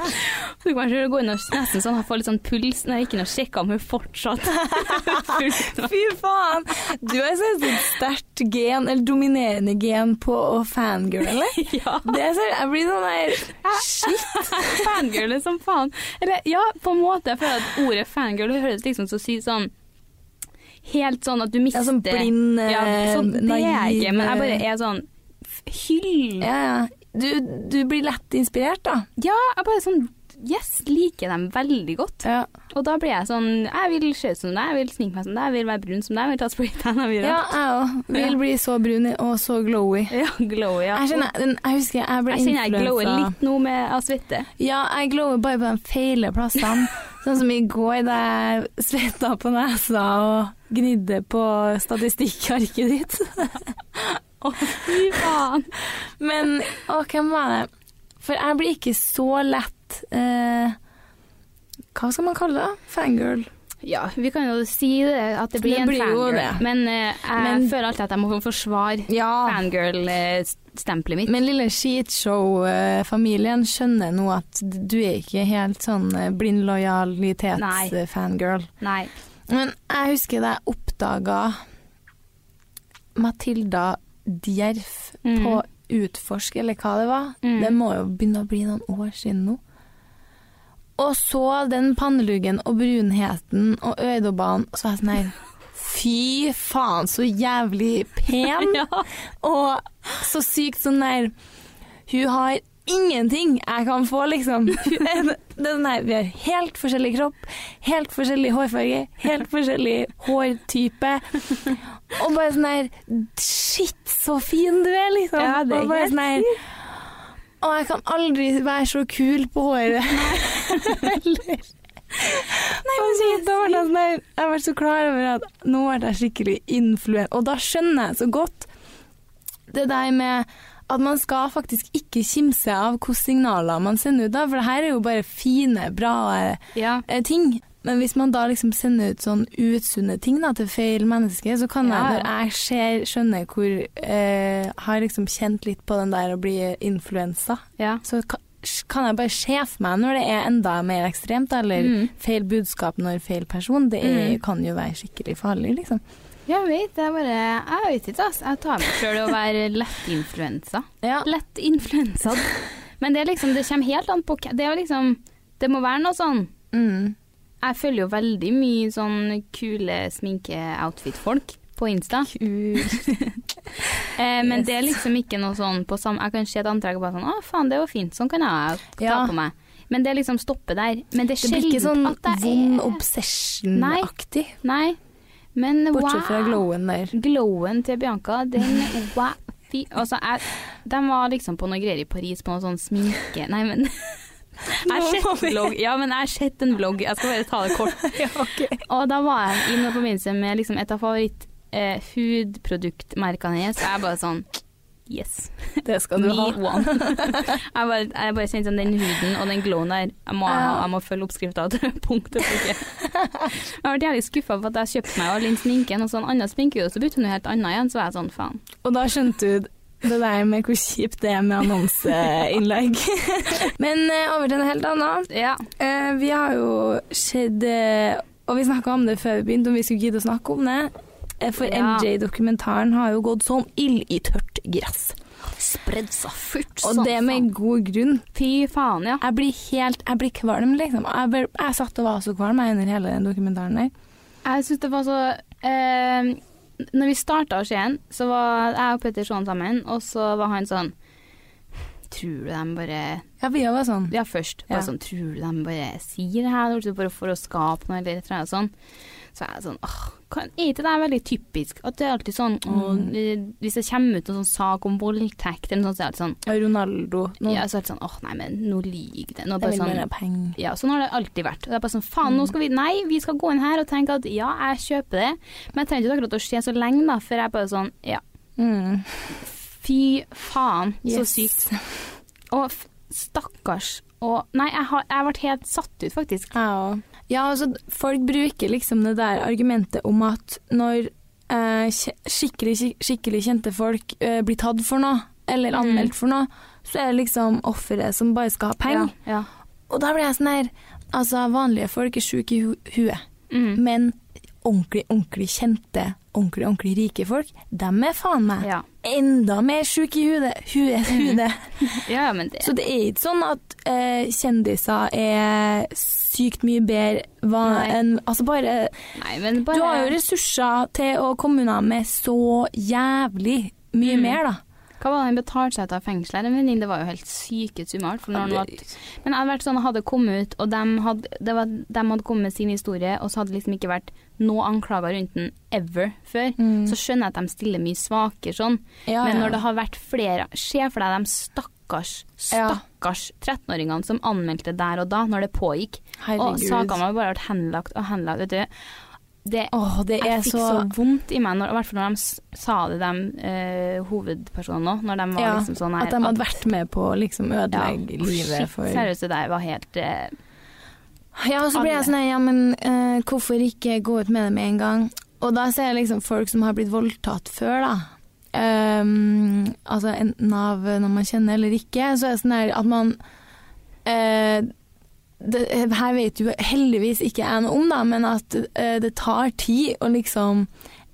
Så kan jeg selv gå inn og nesten sånn, jeg får litt sånn puls når jeg gikk inn og sjekka om hun
*laughs*
fortsatt fulgte meg.
Fy faen! Du har så et sterkt gen, eller dominerende gen, på å fangirl, eller?
Ja.
Det er så, jeg blir sånn der Shit!
Fangirl er som faen. Eller ja, på en måte. Jeg føler at ordet fangirl det høres liksom så sykt sånn Helt sånn at du
Jeg
mister
er sånn blind, eh,
ja, sånn, Det er jeg
naiv eh,
ikke, men jeg bare er sånn f- Hyll.
Ja, ja. Du, du blir lett inspirert, da.
Ja, jeg bare sånn Yes, liker dem veldig godt.
Ja.
Og da blir jeg sånn Jeg vil se ut som deg, jeg vil sminke meg som deg, jeg vil være brun som deg, jeg vil ta spraytan. jeg vil-
Ja, jeg òg. Vil bli så brun og så glowy.
ja, glowy, ja.
Jeg, kjenner, den, jeg husker jeg ble
Jeg kjenner jeg glower
influensa.
litt nå med av svette.
Ja, jeg glower bare på de feile plassene. sånn som i går da jeg svetta på nesa og gnidde på statistikkarket ditt. *laughs*
Å, fy faen.
Men å, hvem var det? For jeg blir ikke så lett eh, Hva skal man kalle det? Fangirl?
Ja, vi kan jo si det, at det blir
Det
en
blir jo
fangirl.
det.
Men Ah. eh, jeg
Men-
føler alltid at jeg må forsvare
Ja.
fangirl-stempelet mitt.
Men lille skitshow-familien skjønner nå at du er ikke helt sånn eh, blind
Nei.
lojalitets-fangirl.
Nei.
Men jeg husker da jeg oppdaga Matilda Djerf
Mm.
på Utforsk, eller hva det var.
Mm.
Det må jo begynne å bli noen år siden nå. Og så den panneluggen og brunheten og øyedobbene, så var jeg sånn her Fy faen, så jævlig pen!
*laughs* Ja.
Og så sykt sånn der Hun har ingenting jeg kan få, liksom. Hun er den- Den der, vi har helt forskjellig kropp, helt forskjellig hårfarge, helt forskjellig hårtype. Og bare sånn der Shit, så fin du er, liksom.
Ja, det er
og bare
helt
sånn der Å, jeg kan aldri være så kul på håret.
*laughs*
Eller- Nei, men så, da var det sånn der, Jeg ble så klar over at nå ble jeg skikkelig influent. Og da skjønner jeg så godt det der med at man skal faktisk ikke kimse av hvilke signaler man sender ut, da, for det her er jo bare fine, bra
Ja.
eh, ting. Men hvis man da liksom sender ut sånn utsunne ting da, til feil menneske, så kan
Ja,
jeg,
ja.
når jeg ser, skjønner hvor eh, Har liksom kjent litt på den der å bli influensa,
ja.
så kan, kan jeg bare se for meg når det er enda mer ekstremt, da, eller
Mm.
feil budskap når feil person. Det er,
Mm.
kan jo være skikkelig farlig, liksom.
Jeg vet, jeg bare Jeg vet ikke, altså. Jeg tar meg sjøl i å være *laughs* lettinfluensa.
Ja.
Lett influensa. Men det er liksom Det kommer helt an på hva Det er jo liksom Det må være noe sånn
Mm.
Jeg følger jo veldig mye sånn kule sminke-outfit-folk på Insta. Eh, men
Yes.
det er liksom ikke noe sånn på samme Jeg kan se et antrekk og bare sånn Å, faen, det var fint. Sånn kan jeg ta
Ja.
på meg. Men det liksom stopper der. Men det er
Det blir ikke sånn
sjelden at jeg
vond
er
obsession-aktig,
Nei. Men wow.
bortsett fra glowen
*laughs*
der.
Glowen til Bianca, den
*laughs*
wow. Fy, altså, jeg, de var liksom på noe greier i Paris, på noe sånn sminke Nei, men Jeg
*laughs* Nå
har
må
sett
vi-
vlogg. Ja, men jeg har sett en vlogg. Jeg skal bare ta det kort.
Ja, ok.
Og da var jeg i noe forbindelse med liksom et av favoritt eh, hudproduktmerkene hennes. og Jeg bare sånn Yes.
Det skal
Me
du ha.
one. *laughs* jeg, bare, jeg bare kjente sånn den huden og den glowen der. Jeg må,
Ja.
jeg må følge oppskrifta til *laughs* punkt og prikke. Jeg ble jævlig skuffa for at jeg kjøpte meg all den sminken, og så en annen sminke, og så bytter hun helt annen igjen. Så var jeg sånn, faen.
*laughs* Og da skjønte du det der med hvor kjipt det er med
*laughs*
annonseinnlegg. Men eh, over til en helt annen.
Ja.
Eh, vi har jo sett eh, Og vi snakka om det før vi begynte, om vi skulle gidde å snakke om det. Eh, For
Ja.
MJ-dokumentaren har jo gått som ild i tørt gress.
Spredd seg fort
Og det med god grunn.
Fy faen, ja.
Jeg blir helt Jeg blir kvalm, liksom. Jeg, ble, jeg satt og var så kvalm jeg, under hele den dokumentaren der.
Jeg syns det var så eh, Når vi starta å se den, så var jeg og Petter sånn sammen, og så var han sånn Tror du de bare
Ja, vi var sånn.
Ja, først. Bare
Ja.
sånn Tror du de bare sier det her eller tror du bare for å skape noe eller et eller annet sånn? Så er jeg sånn åh, hva- Er ikke det veldig typisk? At det er alltid sånn åh, Hvis det kommer ut en sånn sak om voldtekt eller noe sånt, så er det alltid sånn
Ronaldo. Nå,
ja, så er det sånn åh, nei, men nå lyver det. Nå
jeg
bare
vil
sånn
mer ha penger.
ja, sånn har det alltid vært. Og det er bare sånn, faen, nå skal vi, nei, vi skal gå inn her og tenke at ja, jeg kjøper det, men jeg trenger ikke akkurat å se så lenge da, for jeg er bare sånn, ja,
Mm.
fy faen, så
Yes.
sykt. Og f- stakkars, og nei, jeg har, jeg har vært helt satt ut faktisk.
Ja. ja, altså folk bruker liksom det der argumentet om at når eh, kje- skikkelig, skik- skikkelig kjente folk eh, blir tatt for noe, eller
Mm.
anmeldt for noe, så er det liksom offeret som bare skal ha penger.
Ja. ja.
Og da blir jeg sånn her Altså, vanlige folk er sjuke i hu huet,
Mm.
men ordentlig, ordentlig kjente, ordentlig, ordentlig rike folk, dem er faen meg
Ja.
enda mer sjuke i huet. huet,
Mm.
huet.
ja, ja, men det,
Så det er ikke sånn at eh, kjendiser er sykt mye bedre hva-
Nei.
enn Altså bare
nei, men bare...
Du har jo ressurser til å komme unna med så jævlig mye
Mm.
mer, da.
Hva var det han betalte seg ut av fengselet? En venninne, det var jo helt syke summer. For når han var Men jeg hadde vært sånn, hadde kommet ut, og de hadde, det var, de hadde kommet med sin historie, og så hadde det liksom ikke vært noe anklager rundt den ever før.
Mm.
Så skjønner jeg at de stiller mye svakere sånn,
ja,
men
ja.
når det har vært flere Se for deg de stakkars,
Ja.
stakkars 13-åringene som anmeldte der og da, når det pågikk. Og
Herregud.
sakene har bare vært henlagt og henlagt, vet du. Det,
Åh, det er
jeg fikk
så,
så... vondt i meg, når, i hvert fall når de s- sa det, de eh, hovedpersonene òg, når de var
Ja,
liksom sånn her
At de hadde vært med på å liksom ødelegge
Å,
livet
shit,
for
Seriøst, det der var helt eh,
Ja, og så blir jeg
Alle.
sånn Ja, men eh, hvorfor ikke gå ut med det med en gang? Og da ser jeg liksom folk som har blitt voldtatt før, da. Ehm, altså enten av noen man kjenner eller ikke. Så er det sånn her at man eh, det, Her vet jo heldigvis ikke jeg noe om, da, men at eh, det tar tid å liksom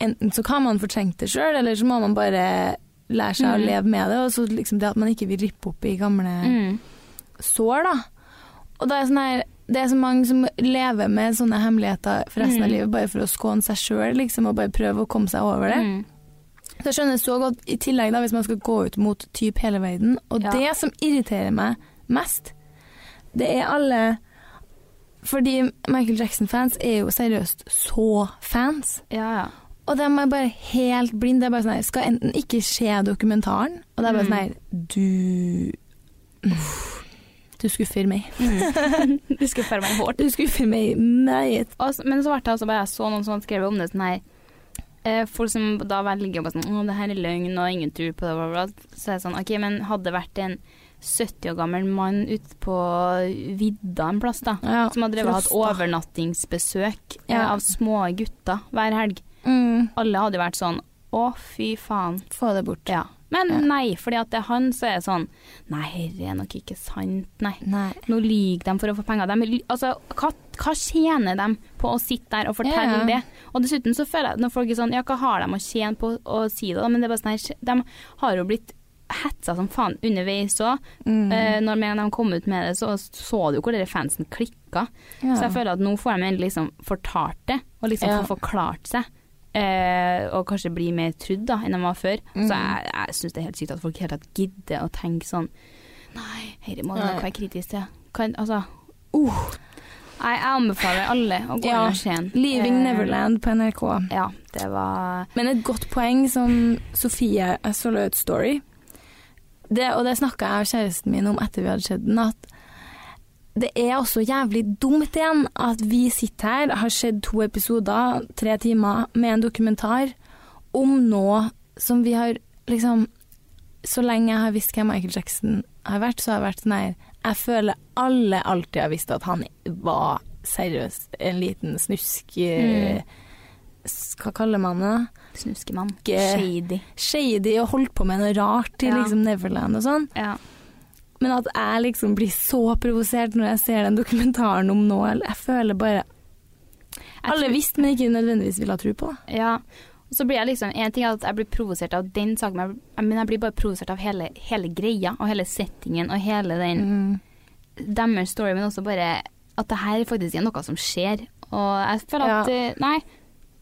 Enten så kan man fortrenge det sjøl, eller så må man bare lære seg å
Mm.
leve med det. Og så liksom det at man ikke vil rippe opp i gamle
mm.
sår, da. Og det er, sånn her, det er så mange som lever med sånne hemmeligheter for resten av
Mm.
livet, bare for å skåne seg sjøl, liksom, og bare prøve å komme seg over det.
Mm.
Så jeg skjønner så godt, i tillegg da, hvis man skal gå ut mot typ hele verden, og
Ja.
det som irriterer meg mest, det er alle Fordi Michael Jackson-fans er jo seriøst så fans.
Ja, ja.
Og de er bare helt blinde. Det er bare sånn her, skal enten ikke se dokumentaren, og det er bare
Mm.
sånn her Du Du skuffer meg.
Mm.
*laughs*
du skulle spørre meg hårt.
Du skuffer meg meget.
Og så- Men så ble det altså bare jeg så noen som hadde skrevet om det sånn her eh, Folk som da velger bare sånn Å, det her er løgn, og ingen tror på det, bla, bla. bla». Så er det sånn OK, men hadde det vært en 70 år gammel mann ute på vidda en plass, da,
Ja,
som hadde drevet og hatt
Frosta.
overnattingsbesøk eh,
Ja.
av små gutter hver helg,
Mm.
alle hadde jo vært sånn Å, fy faen.
Få det bort.
Ja. Men
Ja.
nei, fordi at det er han, så er det sånn Nei, herre er nok ikke sant, nei.
Nei.
Nå lyver de for å få penger. De, ly- altså, hva, hva tjener de på å sitte der og
Ja.
fortelle det? Og dessuten så føler jeg at når folk er sånn Ja, hva har de å tjene på å si det? da? Men det er bare sånn her De har jo blitt hetsa som faen underveis òg.
Mm.
når med en gang de kom ut med det, så så du hvor dere fansen klikka.
ja.
Så jeg føler at nå får de endelig liksom fortalt det, og liksom
Ja.
få forklart seg. Eh, og kanskje bli mer trudd da enn de var før.
Mm.
Så jeg, jeg syns det er helt sykt at folk i det hele tatt gidder å tenke sånn Nei, dette må du nok
Nei.
være kritisk til. Kan, altså uh. Nei, jeg anbefaler alle å gå
Ja.
inn og se den.
Leaving
Eh,
Neverland på NRK.
Ja, det var
Men et godt poeng som Sofie jeg så la ut story, det, og det snakka jeg og kjæresten min om etter vi hadde sett den, at det er også jævlig dumt igjen at vi sitter her, har sett to episoder, tre timer, med en dokumentar om noe som vi har liksom Så lenge jeg har visst hvem Michael Jackson har vært, så har jeg vært sånn her Jeg føler alle alltid har visst at han var seriøst en liten snusk eh, s- Hva kaller man det? da?
Snuskemann.
Ikke-
Shady.
shady og holdt på med noe rart i
Ja.
liksom Neverland og sånn.
Ja.
Men at jeg liksom blir så provosert når jeg ser den dokumentaren om nå. eller Jeg føler bare
Jeg
Alle
tror-
visste, men ikke nødvendigvis ville ha tro på.
Ja. Og så blir jeg liksom En ting er at jeg blir provosert av den saken, men jeg- men jeg blir bare provosert av hele, hele greia og hele settingen og hele den
Mm.
deres story, men også bare at det her faktisk er noe som skjer. Og jeg føler at eh, Nei.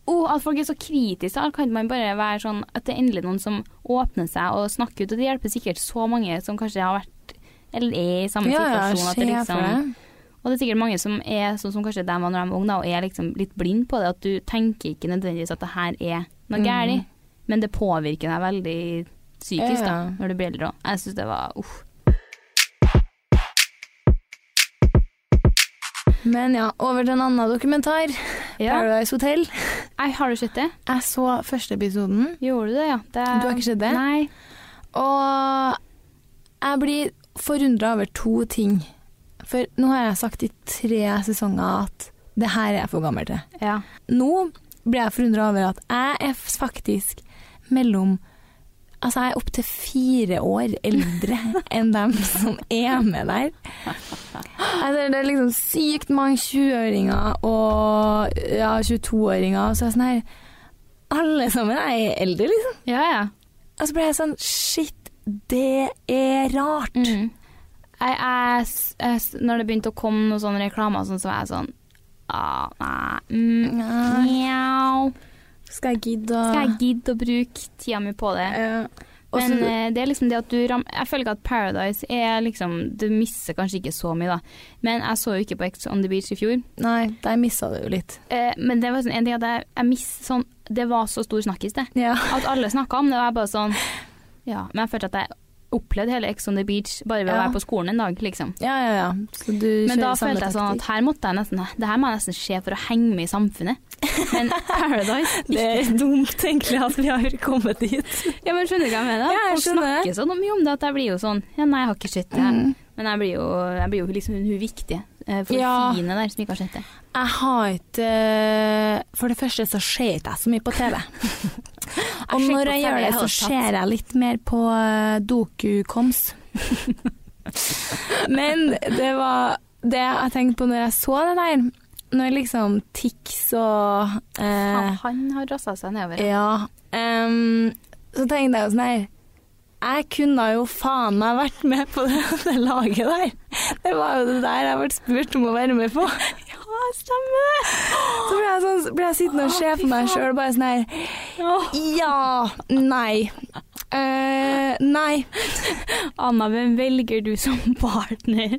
Oh, at folk er så kritiske. Alt kan man bare være sånn At det er endelig noen som åpner seg og snakker ut. Og det hjelper sikkert så mange som kanskje har vært eller er i samme
Ja, ja,
situasjon. At det
skjer for
liksom,
det.
Og det er sikkert mange som er sånn som kanskje deg var når de var unge, da, og er liksom litt blind på det. At du tenker ikke nødvendigvis at det her er noe
Mm.
galt, men det påvirker deg veldig psykisk da,
Ja.
når du blir eldre. også. Jeg syns det var uff.
Men ja, over til en annen dokumentar. Paradise Hotel.
Nei, har du sett det?
Jeg så første episoden.
Gjorde du det, ja? Det...
Du har ikke sett det?
Nei.
Og jeg blir forundra over to ting. For nå har jeg sagt i tre sesonger at det her er jeg for gammel til.
Ja.
Nå blir jeg forundra over at jeg er faktisk mellom Altså, jeg er opptil fire år eldre *laughs* enn dem som er med der. Altså, det er liksom sykt mange 20-åringer og ja, 22-åringer, og så er jeg sånn her Alle sammen er eldre, liksom.
Ja, ja.
Og så ble jeg sånn Shit, det er rart.
Mm. Jeg, jeg, jeg, når det begynte å komme noen sånne reklamer, og sånn, så var jeg sånn ah, Nei. Mm.
Nei,
Mjau.
Skal jeg gidde å
Skal jeg gidde å bruke tida mi på det?
Ja. Og
Men
så-
eh, det er liksom det at du ram Jeg føler ikke at Paradise er liksom Du mister kanskje ikke så mye, da. Men jeg så jo ikke på Ex on the Beach i fjor.
Nei, der missa du jo litt.
Eh, men det var sånn, en ting at jeg, jeg miss, sånn, det var så stor snakkis, det.
Ja.
At alle snakka om det, og jeg bare sånn Ja. Men jeg følte at jeg opplevde hele Ex on the Beach bare ved å
Ja.
være på skolen en dag, liksom.
Ja, ja, ja. Så du
Men da
kjører samme
følte jeg sånn at
taktikk.
her måtte jeg nesten Det her må jeg nesten se for å henge med i samfunnet.
*laughs*
Men Paradise
Det
*laughs*
er dumt egentlig at vi har kommet dit.
Ja, men skjønner du hva jeg mener?
Ja, jeg
Folk
skjønner. Mm.
snakker så mye om det at jeg blir jo sånn Ja, nei, jeg har ikke sett det. her. Men jeg blir jo, jeg blir jo liksom hun viktige. eh, For
Ja.
fine der som ikke har sett det.
Jeg har ikke For det første så ser ikke jeg så mye på *laughs* TV. Og
sjekker
når
på
jeg
TV
gjør det,
i
så
hele tatt.
ser jeg litt mer på eh, dokukoms. *laughs* Men det var det jeg tenkte på når jeg så det der, når liksom Tix og eh,
Han, han har rassa seg nedover.
Ja. ehm, så tenkte jeg jo sånn her Jeg kunne jo faen meg vært med på det, *laughs* det laget der. Det var jo det der jeg ble spurt om å være med på. *laughs*
Ja, stemmer
Så ble jeg, sånn, ble jeg sittende og se
Å, fy
på meg
faen.
sjøl bare sånn her Ja. Nei. eh, nei.
Anna, hvem velger du som partner?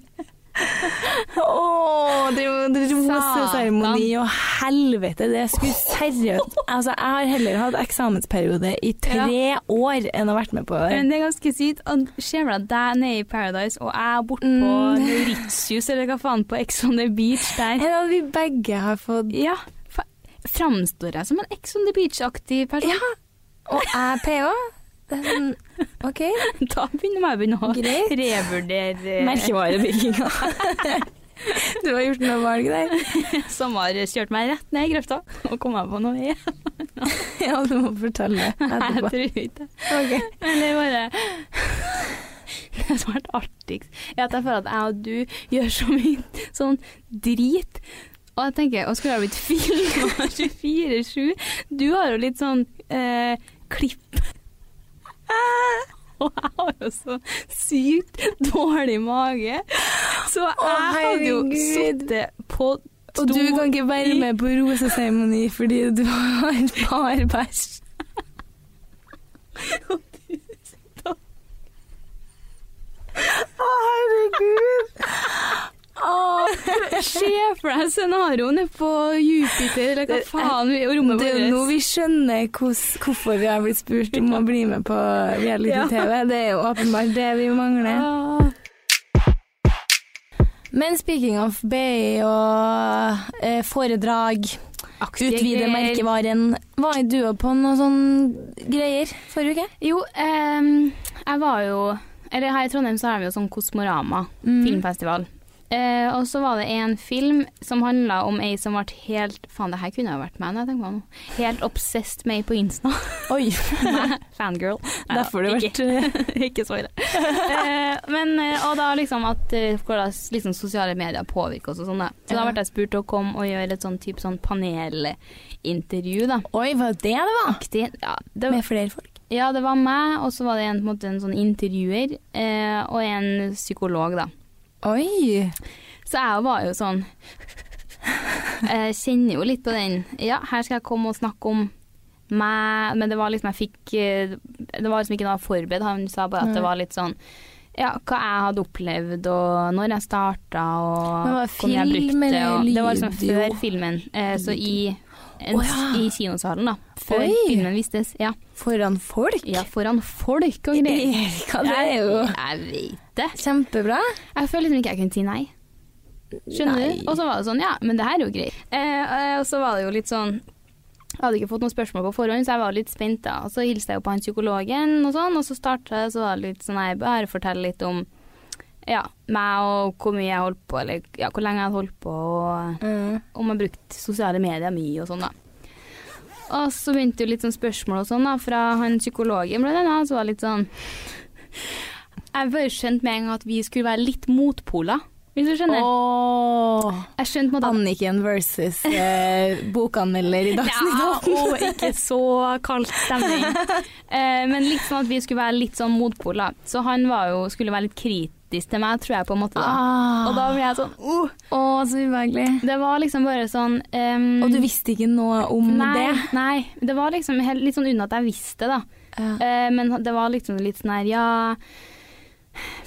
Åh, det er jo roseseremoni
Satan.
og helvete, det skulle *laughs* seriøst Altså, jeg har heller hatt eksamensperiode i tre år enn å ha vært med på det.
Men det er ganske sykt. Og Ser du deg nede i Paradise, og jeg er borte på
Mm.
*laughs* Mauritius eller hva faen, på Ex on the Beach der.
Enn at vi begge har fått
Ja. fa- Framstår jeg som en Ex on the Beach-aktig person?
Ja. Og jeg PH. Det er sånn OK,
*laughs* Da begynner jeg begynne å
greit. *laughs*
revurdere eh,
Merkevarebygginga. Du har gjort noe valg der.
*laughs* som har kjørt meg rett ned i grøfta. Og kom jeg på noe *laughs* jeg
Ja, du må fortelle
jeg
etterpå.
tror ikke.
Ok.
Eller bare *laughs* Det som har vært artigst, er at jeg føler at jeg og du gjør så mye sånn drit. Og jeg tenker, og skulle jeg blitt filma *laughs* 24-7? Du har jo litt sånn eh, klipp. *laughs* Og jeg har jo så sykt dårlig mage. Så jeg hadde jo
herregud.
sittet på to
Og du kan ikke være
i-
med på roseseremoni fordi du har bar bæsj. Å, herregud.
*laughs* Se for deg scenarioet på Jupiter, eller hva
Det-
faen vi- rommet
Det er jo nå vi skjønner hvordan- hvorfor vi har blitt spurt om å bli med på reality-TV. Det er jo åpenbart det vi mangler.
Ah.
Men speaking of BI og eh, foredrag, utvide merkevaren Var du også på noe sånn greier forrige uke?
Jo, ehm, jeg var jo Eller her i Trondheim så har vi jo sånn Kosmorama
Mm.
filmfestival. Eh, og så var det en film som handla om ei som ble helt Faen, det her kunne jo vært meg når jeg tenker meg om. Helt obsessed med ei på Insta. *laughs*
Oi, *laughs*
Fangirl. Nei da,
derfor har du
ikke-
vært
*laughs*
eh,
ikke så ille. Eh, men, eh, og da liksom at eh, hvordan liksom sosiale medier påvirker oss og sånn, da. Så da
Ja.
ble jeg spurt til å komme og gjøre et sånn type sånn panelintervju, da.
Oi, var det det var?
Aktig. Ja, det,
Med flere folk.
ja, det var meg, og så var det en, på en, måte, en sånn intervjuer eh, og en psykolog, da.
Oi.
Så jeg var jo sånn Jeg kjenner jo litt på den Ja, her skal jeg komme og snakke om meg Men det var liksom jeg fikk eh, Det var liksom ikke noe forberedt Han sa bare at det var litt sånn ja, hva jeg hadde opplevd, og når jeg starta, og
Men var det
hvor mye jeg
film
brukte.
eller
Og det var liksom
lyd, jo?
før filmen. Eh, så i, en,
Å, ja.
i kinosalen, da. Før
Oi.
filmen vistes. Ja.
Foran folk? *laughs*
ja, foran folk og greier.
Erika, det er jo
Jeg, jeg vet det.
kjempebra.
Jeg føler liksom ikke jeg kunne si nei. Skjønner
Nei.
du? Og så var det sånn, ja, men det her er jo greit. Eh, eh, og så var det jo litt sånn Jeg hadde ikke fått noen spørsmål på forhånd, så jeg var litt spent da. Og så hilste jeg jo på han psykologen og sånn, og så starta jeg, så var det litt sånn Jeg bare forteller litt om ja, meg og hvor mye jeg holdt på, eller ja, hvor lenge jeg hadde holdt på, og
Mm.
om jeg brukte sosiale medier mye og sånn, da. Og så begynte jo litt sånn spørsmål og sånn da, fra han psykologen blant annet, så var det litt sånn Jeg bare skjønte med en gang at vi skulle være litt motpoler, hvis du skjønner.
Åh,
Jeg skjønte på en måte at
Anniken versus eh, bokanmelder i Dagsnytt
ja,
18.
*laughs* og ikke så kald stemning. Eh, men litt sånn at vi skulle være litt sånn motpoler. Så han var jo, skulle være litt kritisk til meg, tror jeg, på en måte. da.
Ah.
Og da ble jeg sånn uh,
Å, så ubehagelig.
Det var liksom bare sånn ehm,
Og du visste ikke noe om
nei,
det?
Nei. Det var liksom helt, litt sånn unna at jeg visste, da. Eh, men det var liksom litt sånn her, ja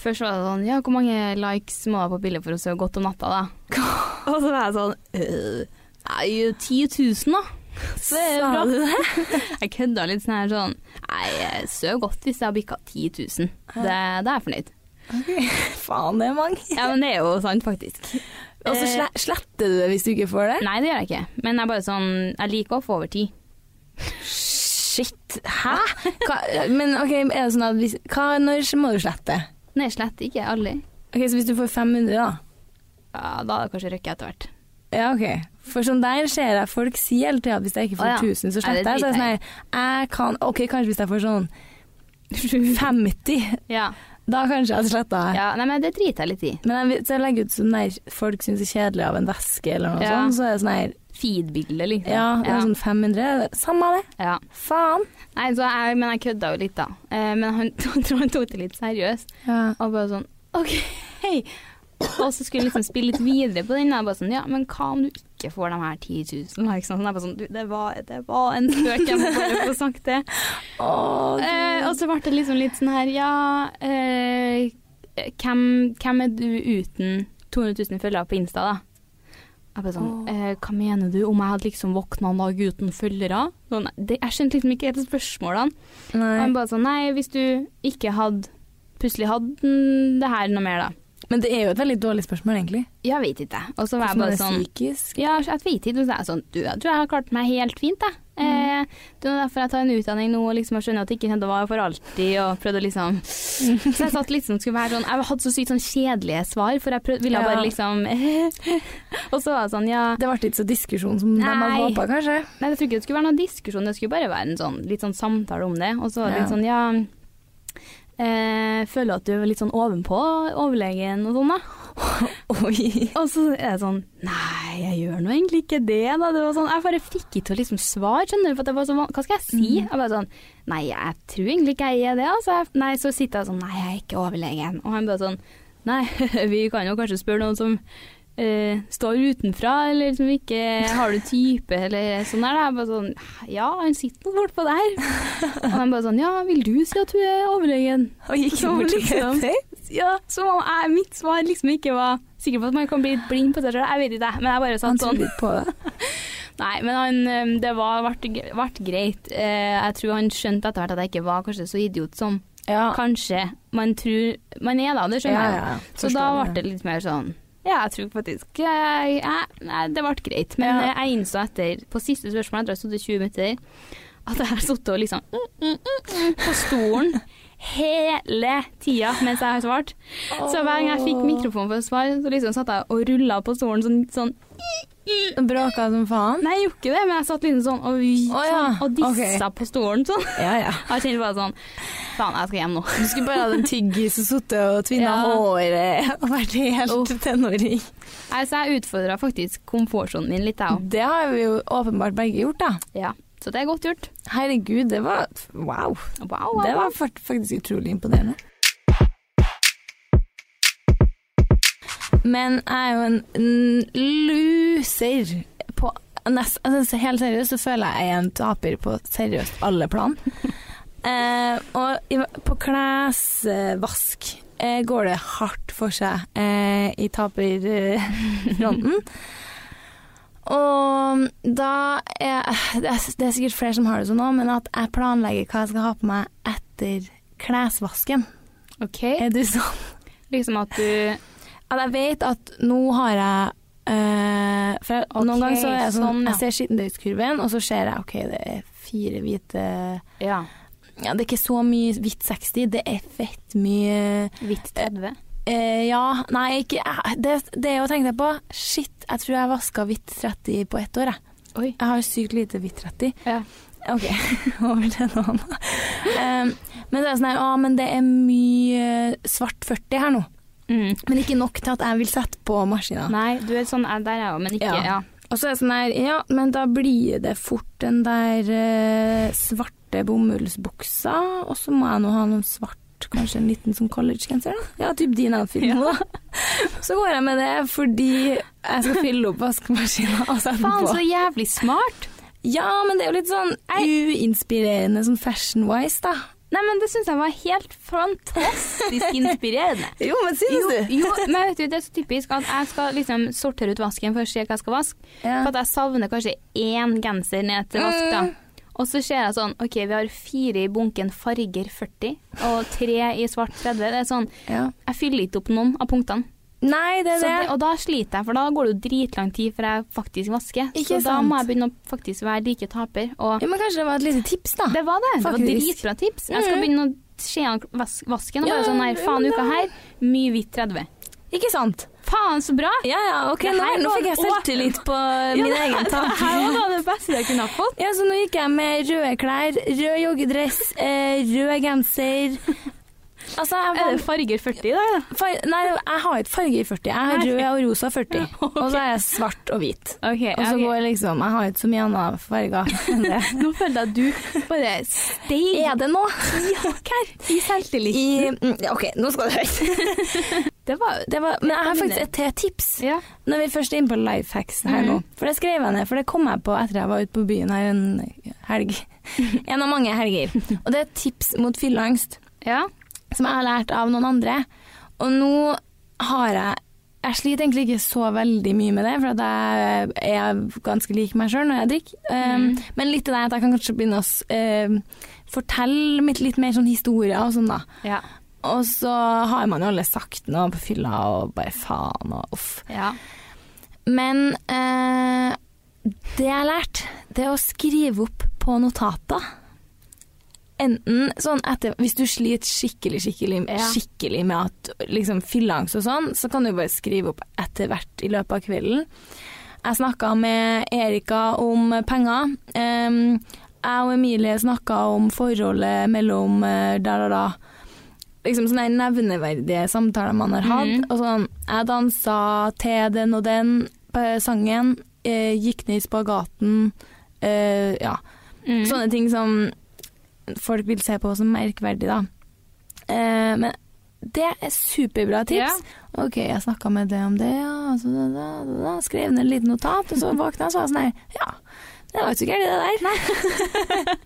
Først var det sånn, ja, hvor mange likes må du ha på bildet for å sove godt om natta, da?
Eh,
Og så var jeg sånn, øh, nei, 10 000 da. Så det er
Sa
bra.
du
*laughs*
det?
Jeg kødda litt sånn her sånn, nei, jeg sover godt hvis jeg har bikka 10 000. Det, da er jeg fornøyd.
Faen, det er mange.
Ja, men det er jo sant, faktisk. Eh,
Og så sle- sletter du det hvis du ikke får det?
Nei, det gjør jeg ikke. Men jeg er bare sånn, jeg liker å få over 10.
Shit, hæ? Hva, men ok, er det sånn at hvis, hva, når må du slette?
Nei, slett ikke, aldri.
Ok, så hvis du får 500 da?
Ja, da hadde jeg kanskje røkket etter hvert.
Ja, ok. For sånn der ser jeg folk si hele tiden at hvis jeg ikke får
Å, ja.
1000, så
Nei, det
sletter jeg. Så er det sånn
driter
her, jeg kan, ok, kanskje hvis jeg får sånn *laughs* 50,
Ja,
da kanskje jeg sletter.
ja nei, men det driter jeg litt i.
Men jeg, vet- så jeg legger ut sånn der folk synes det er kjedelig av en veske eller noe
Ja.
sånt, så er det sånn her,
Feedbildet, liksom.
ja, det er
ja.
sånn 500, samme det,
ja.
faen.
Nei, så jeg, men jeg kødda jo litt, da. Eh, men han *laughs* tror han tok det litt seriøst.
Ja.
Og bare sånn OK, hei. Og så skulle jeg liksom spille litt videre på den. Og jeg bare sånn Ja, men hva om du ikke får de her 10 000? Liksom. Sånn, jeg bare sånn, du, det, var, det var en spøk, jeg må bare få sagt
*laughs*
det.
Åh, Gud.
Eh, og så ble det liksom litt sånn her Ja, eh, hvem, hvem er du uten 200 000 følgere på Insta, da? Jeg bare sånn,
Åh.
eh, Hva mener du om jeg hadde liksom våkna en dag uten følgere? Sånn, det, jeg skjønte liksom ikke helt spørsmålene.
Nei.
Og han bare sånn Nei, hvis du ikke hadde plutselig hadde mm, det her noe mer, da.
Men det er jo et veldig dårlig spørsmål egentlig.
Jeg vet ikke. Og så var jeg
Hvordan
bare
er
sånn
psykisk?
Ja, jeg vet ikke. Og så er jeg sånn Du, jeg tror jeg har klart meg helt fint, jeg.
Mm.
Eh, det er derfor jeg tar en utdanning nå og liksom jeg skjønner at det ikke det var for alltid, og prøvde å liksom
Mm.
Så jeg satt liksom skulle være sånn Jeg hadde så sykt sånn kjedelige svar, for jeg prøvde, ville
Ja.
bare liksom *laughs* Og så var jeg sånn Ja.
Det ble ikke så diskusjon som de hadde
Nei.
håpa, kanskje.
Nei, jeg tror ikke det skulle være noen diskusjon, det skulle bare være en sånn, litt sånn samtale om det. Og så var det litt
Ja.
sånn, ja eh, Føler at du er litt sånn ovenpå overlegen og sånn, da.
Oi.
*laughs* Og så er det sånn Nei, jeg gjør nå egentlig ikke det, da. Det var sånn, jeg bare fikk ikke til å liksom svare, skjønner du. For at det var så van- Hva skal jeg si?
Mhm.
Jeg bare sånn Nei, jeg tror egentlig ikke jeg er det, altså. Jeg- Nei, så sitter jeg sånn Nei, jeg er ikke overlegen. Og han bare sånn Nei, *laughs* vi kan jo kanskje spørre noen som eh, står utenfra, eller som ikke har du type, eller sånn der. da. Jeg bare sånn, ja, han sitter nå bortpå der. Og han bare sånn, ja, vil du si at du er overlegen?
Og gikk
Som
bort
liksom.
til Petter.
Ja, som om jeg, mitt svar liksom ikke var sikker på at man kan bli litt blind på seg selv. Jeg vet ikke, men jeg bare
Han
satt sånn.
trodde ikke på det.
Nei, men han, eh, det var, ble, gre- ble greit. Eh, Jeg tror han skjønte etter hvert at jeg ikke var kanskje så idiot som
Ja.
kanskje man tror man er da, det skjønner jeg.
ja.
Så da ble det litt mer sånn Ja, jeg tror faktisk jeg, jeg, Nei, det ble greit. Men
Ja.
eh, jeg innså etter, på siste spørsmål, etter at jeg stod i 20 minutter, at jeg har sittet og liksom mm, mm, mm, mm, på stolen hele tida mens jeg har svart. Så hver gang jeg fikk mikrofon for å svare, så liksom satt jeg og rulla på stolen sånn, sånn
Bråka som faen.
Nei, jeg gjorde ikke det, men jeg satt liksom sånn og,
Å ja,
sånn, og dissa på stolen sånn. *laughs*
Ja, ja.
Jeg kjente bare sånn Faen, jeg skal hjem nå.
Du skulle bare hatt en tyggis og sittet og tvinna
Ja.
håret og vært helt
Uff.
tenåring.
Nei, Så jeg utfordra faktisk komfortsonen min litt, jeg òg.
Det har vi jo åpenbart begge gjort, da.
Ja. Så det er godt gjort.
Herregud, det var wow.
Wow, wow,
Det
wow.
var fakt- faktisk utrolig imponerende. Men jeg er jo en mm, loser på nest, altså, Helt seriøst så føler jeg jeg er en taper på *laughs* seriøst alle plan. Eh, og i, på klesvask eh, går det hardt for seg eh, i taperfronten. Og da er, Det er- det er sikkert flere som har det sånn nå, men at jeg planlegger hva jeg skal ha på meg etter klesvasken.
OK.
Er du sånn?
Liksom at du
At jeg vet at nå har jeg eh, For jeg,
Ok,
noen ganger så er jeg sånn,
sånn, ja.
Jeg ser skittentøyskurven, og så ser jeg OK, det er fire hvite
Ja.
ja, Det er ikke så mye hvitt 60, det er fett mye
Hvitt 30.
Eh, ja, nei, ikke eh, Det, det jeg tenkte på Shit, jeg tror jeg vaska hvitt 30 på ett år, jeg.
Oi.
Jeg har sykt lite hvitt 30.
Ja.
OK, *laughs* over til noe annet. Um, men det er sånn her, å, men det er mye svart 40 her nå.
Mm.
Men ikke nok til at jeg vil sette på maskina.
Nei, du er sånn eh, Der er jeg òg, men ikke
Ja.
Ja.
Og så er det sånn her, ja, men da blir det fort den der eh, svarte bomullsbuksa, og så må jeg nå ha noen svart, kanskje en liten sånn collegegenser, da. Ja, typ din outfit nå, *laughs* da. Så går jeg med det fordi jeg skal fylle opp vaskemaskina og sette
Faen, så
den på.
jævlig smart!
Ja, men det er jo litt sånn uinspirerende sånn fashion-wise, da.
Nei, men det syns jeg var helt
*laughs*
fantastisk inspirerende.
Jo, men synes
Jo, jo, men vet du, det er så typisk at jeg skal liksom sortere ut vasken for å se hva jeg skal vaske.
Ja.
For at jeg savner kanskje én genser ned til vask,
Mm.
da. Og så ser jeg sånn OK, vi har fire i bunken farger 40, og tre i svart 30. Det er sånn
Ja.
Jeg fyller ikke opp noen av punktene.
Nei, det
Så
er
det,
det.
og da sliter jeg, for da går det jo dritlang tid før jeg faktisk vasker.
Ikke
så da
sant?
må jeg begynne å faktisk være like taper. Og
Ja, men kanskje det var et lite tips, da.
det var det. Det var
Faktisk.
dritbra tips. Jeg skal
Mm.
begynne å se an vas vasken og
Ja,
bare sånn her,
ja,
faen,
men
uka
da-
her, mye hvitt 30.
Ikke sant?
Faen, så bra!
Ja, ja, ok,
Det
nå,
her
nå
var-
fikk jeg selvtillit på min egen
*laughs* Det
tanke.
her var da det beste jeg kunne ha fått.
Ja, så nå gikk jeg med røde klær, rød joggedress, eh, rød *laughs* genser. Altså, jeg
Er det
var,
farger 40 i dag, da?
far, nei, jeg har ikke farge i 40. Jeg har rød og rosa 40.
*laughs* Ok.
Og så er jeg svart og hvit.
Ok,
Og så
ok.
går jeg liksom Jeg har ikke så mye andre farger enn det. *laughs*
Nå følte jeg at du bare steg
Er det nå?
her i selvtillit.
I, mm, OK, nå skal du høre.
Det var
Det var, men jeg har faktisk et til tips
Ja.
når vi først er inne på lifehacks her nå. For det skrev jeg ned, for det kom jeg på etter jeg var ute på byen her en *laughs* helg. En av mange helger. Og det er et tips mot fylleangst.
ja.
som jeg har lært av noen andre. Og nå har jeg Jeg sliter egentlig ikke så veldig mye med det, for at jeg er ganske lik meg sjøl når jeg drikker. Um,
Mm.
Men litt til det at jeg kan kanskje begynne å s- um, fortelle mitt, litt mer sånn historier og sånn, da.
Ja.
Og så har man jo alle sagt noe på fylla og bare faen og uff.
ja.
Men eh, det jeg har lært, det er å skrive opp på notater. Enten sånn etter Hvis du sliter skikkelig, skikkelig,
Ja.
skikkelig med at liksom fylleangst og sånn, så kan du bare skrive opp etter hvert i løpet av kvelden. Jeg snakka med Erika om penger. ehm, Em, jeg og Emilie snakka om forholdet mellom eh, der og da. Liksom sånne her nevneverdige samtaler man har hatt.
Mhm.
Og sånn, jeg dansa til den og den eh, sangen, eh, gikk ned i spagaten. eh, ja.
Mm.
Sånne ting som folk vil se på som merkverdig, da. Eh, men det er superbra tips.
Ja.
OK, jeg snakka med det om det, ja. Så da, da, da, da, skrev ned et lite notat, og så våkna jeg og så var jeg sånn her Ja, det var jo ikke så gærent, det der.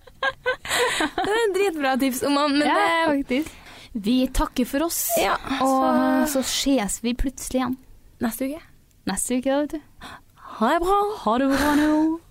*laughs* det er en dritbra tips. Om man, men
ja,
det
faktisk. Vi takker for oss,
Ja.
og
Så
så ses vi plutselig igjen
neste uke.
neste uke, da, vet du.
Ha det bra.
Ha det bra nå.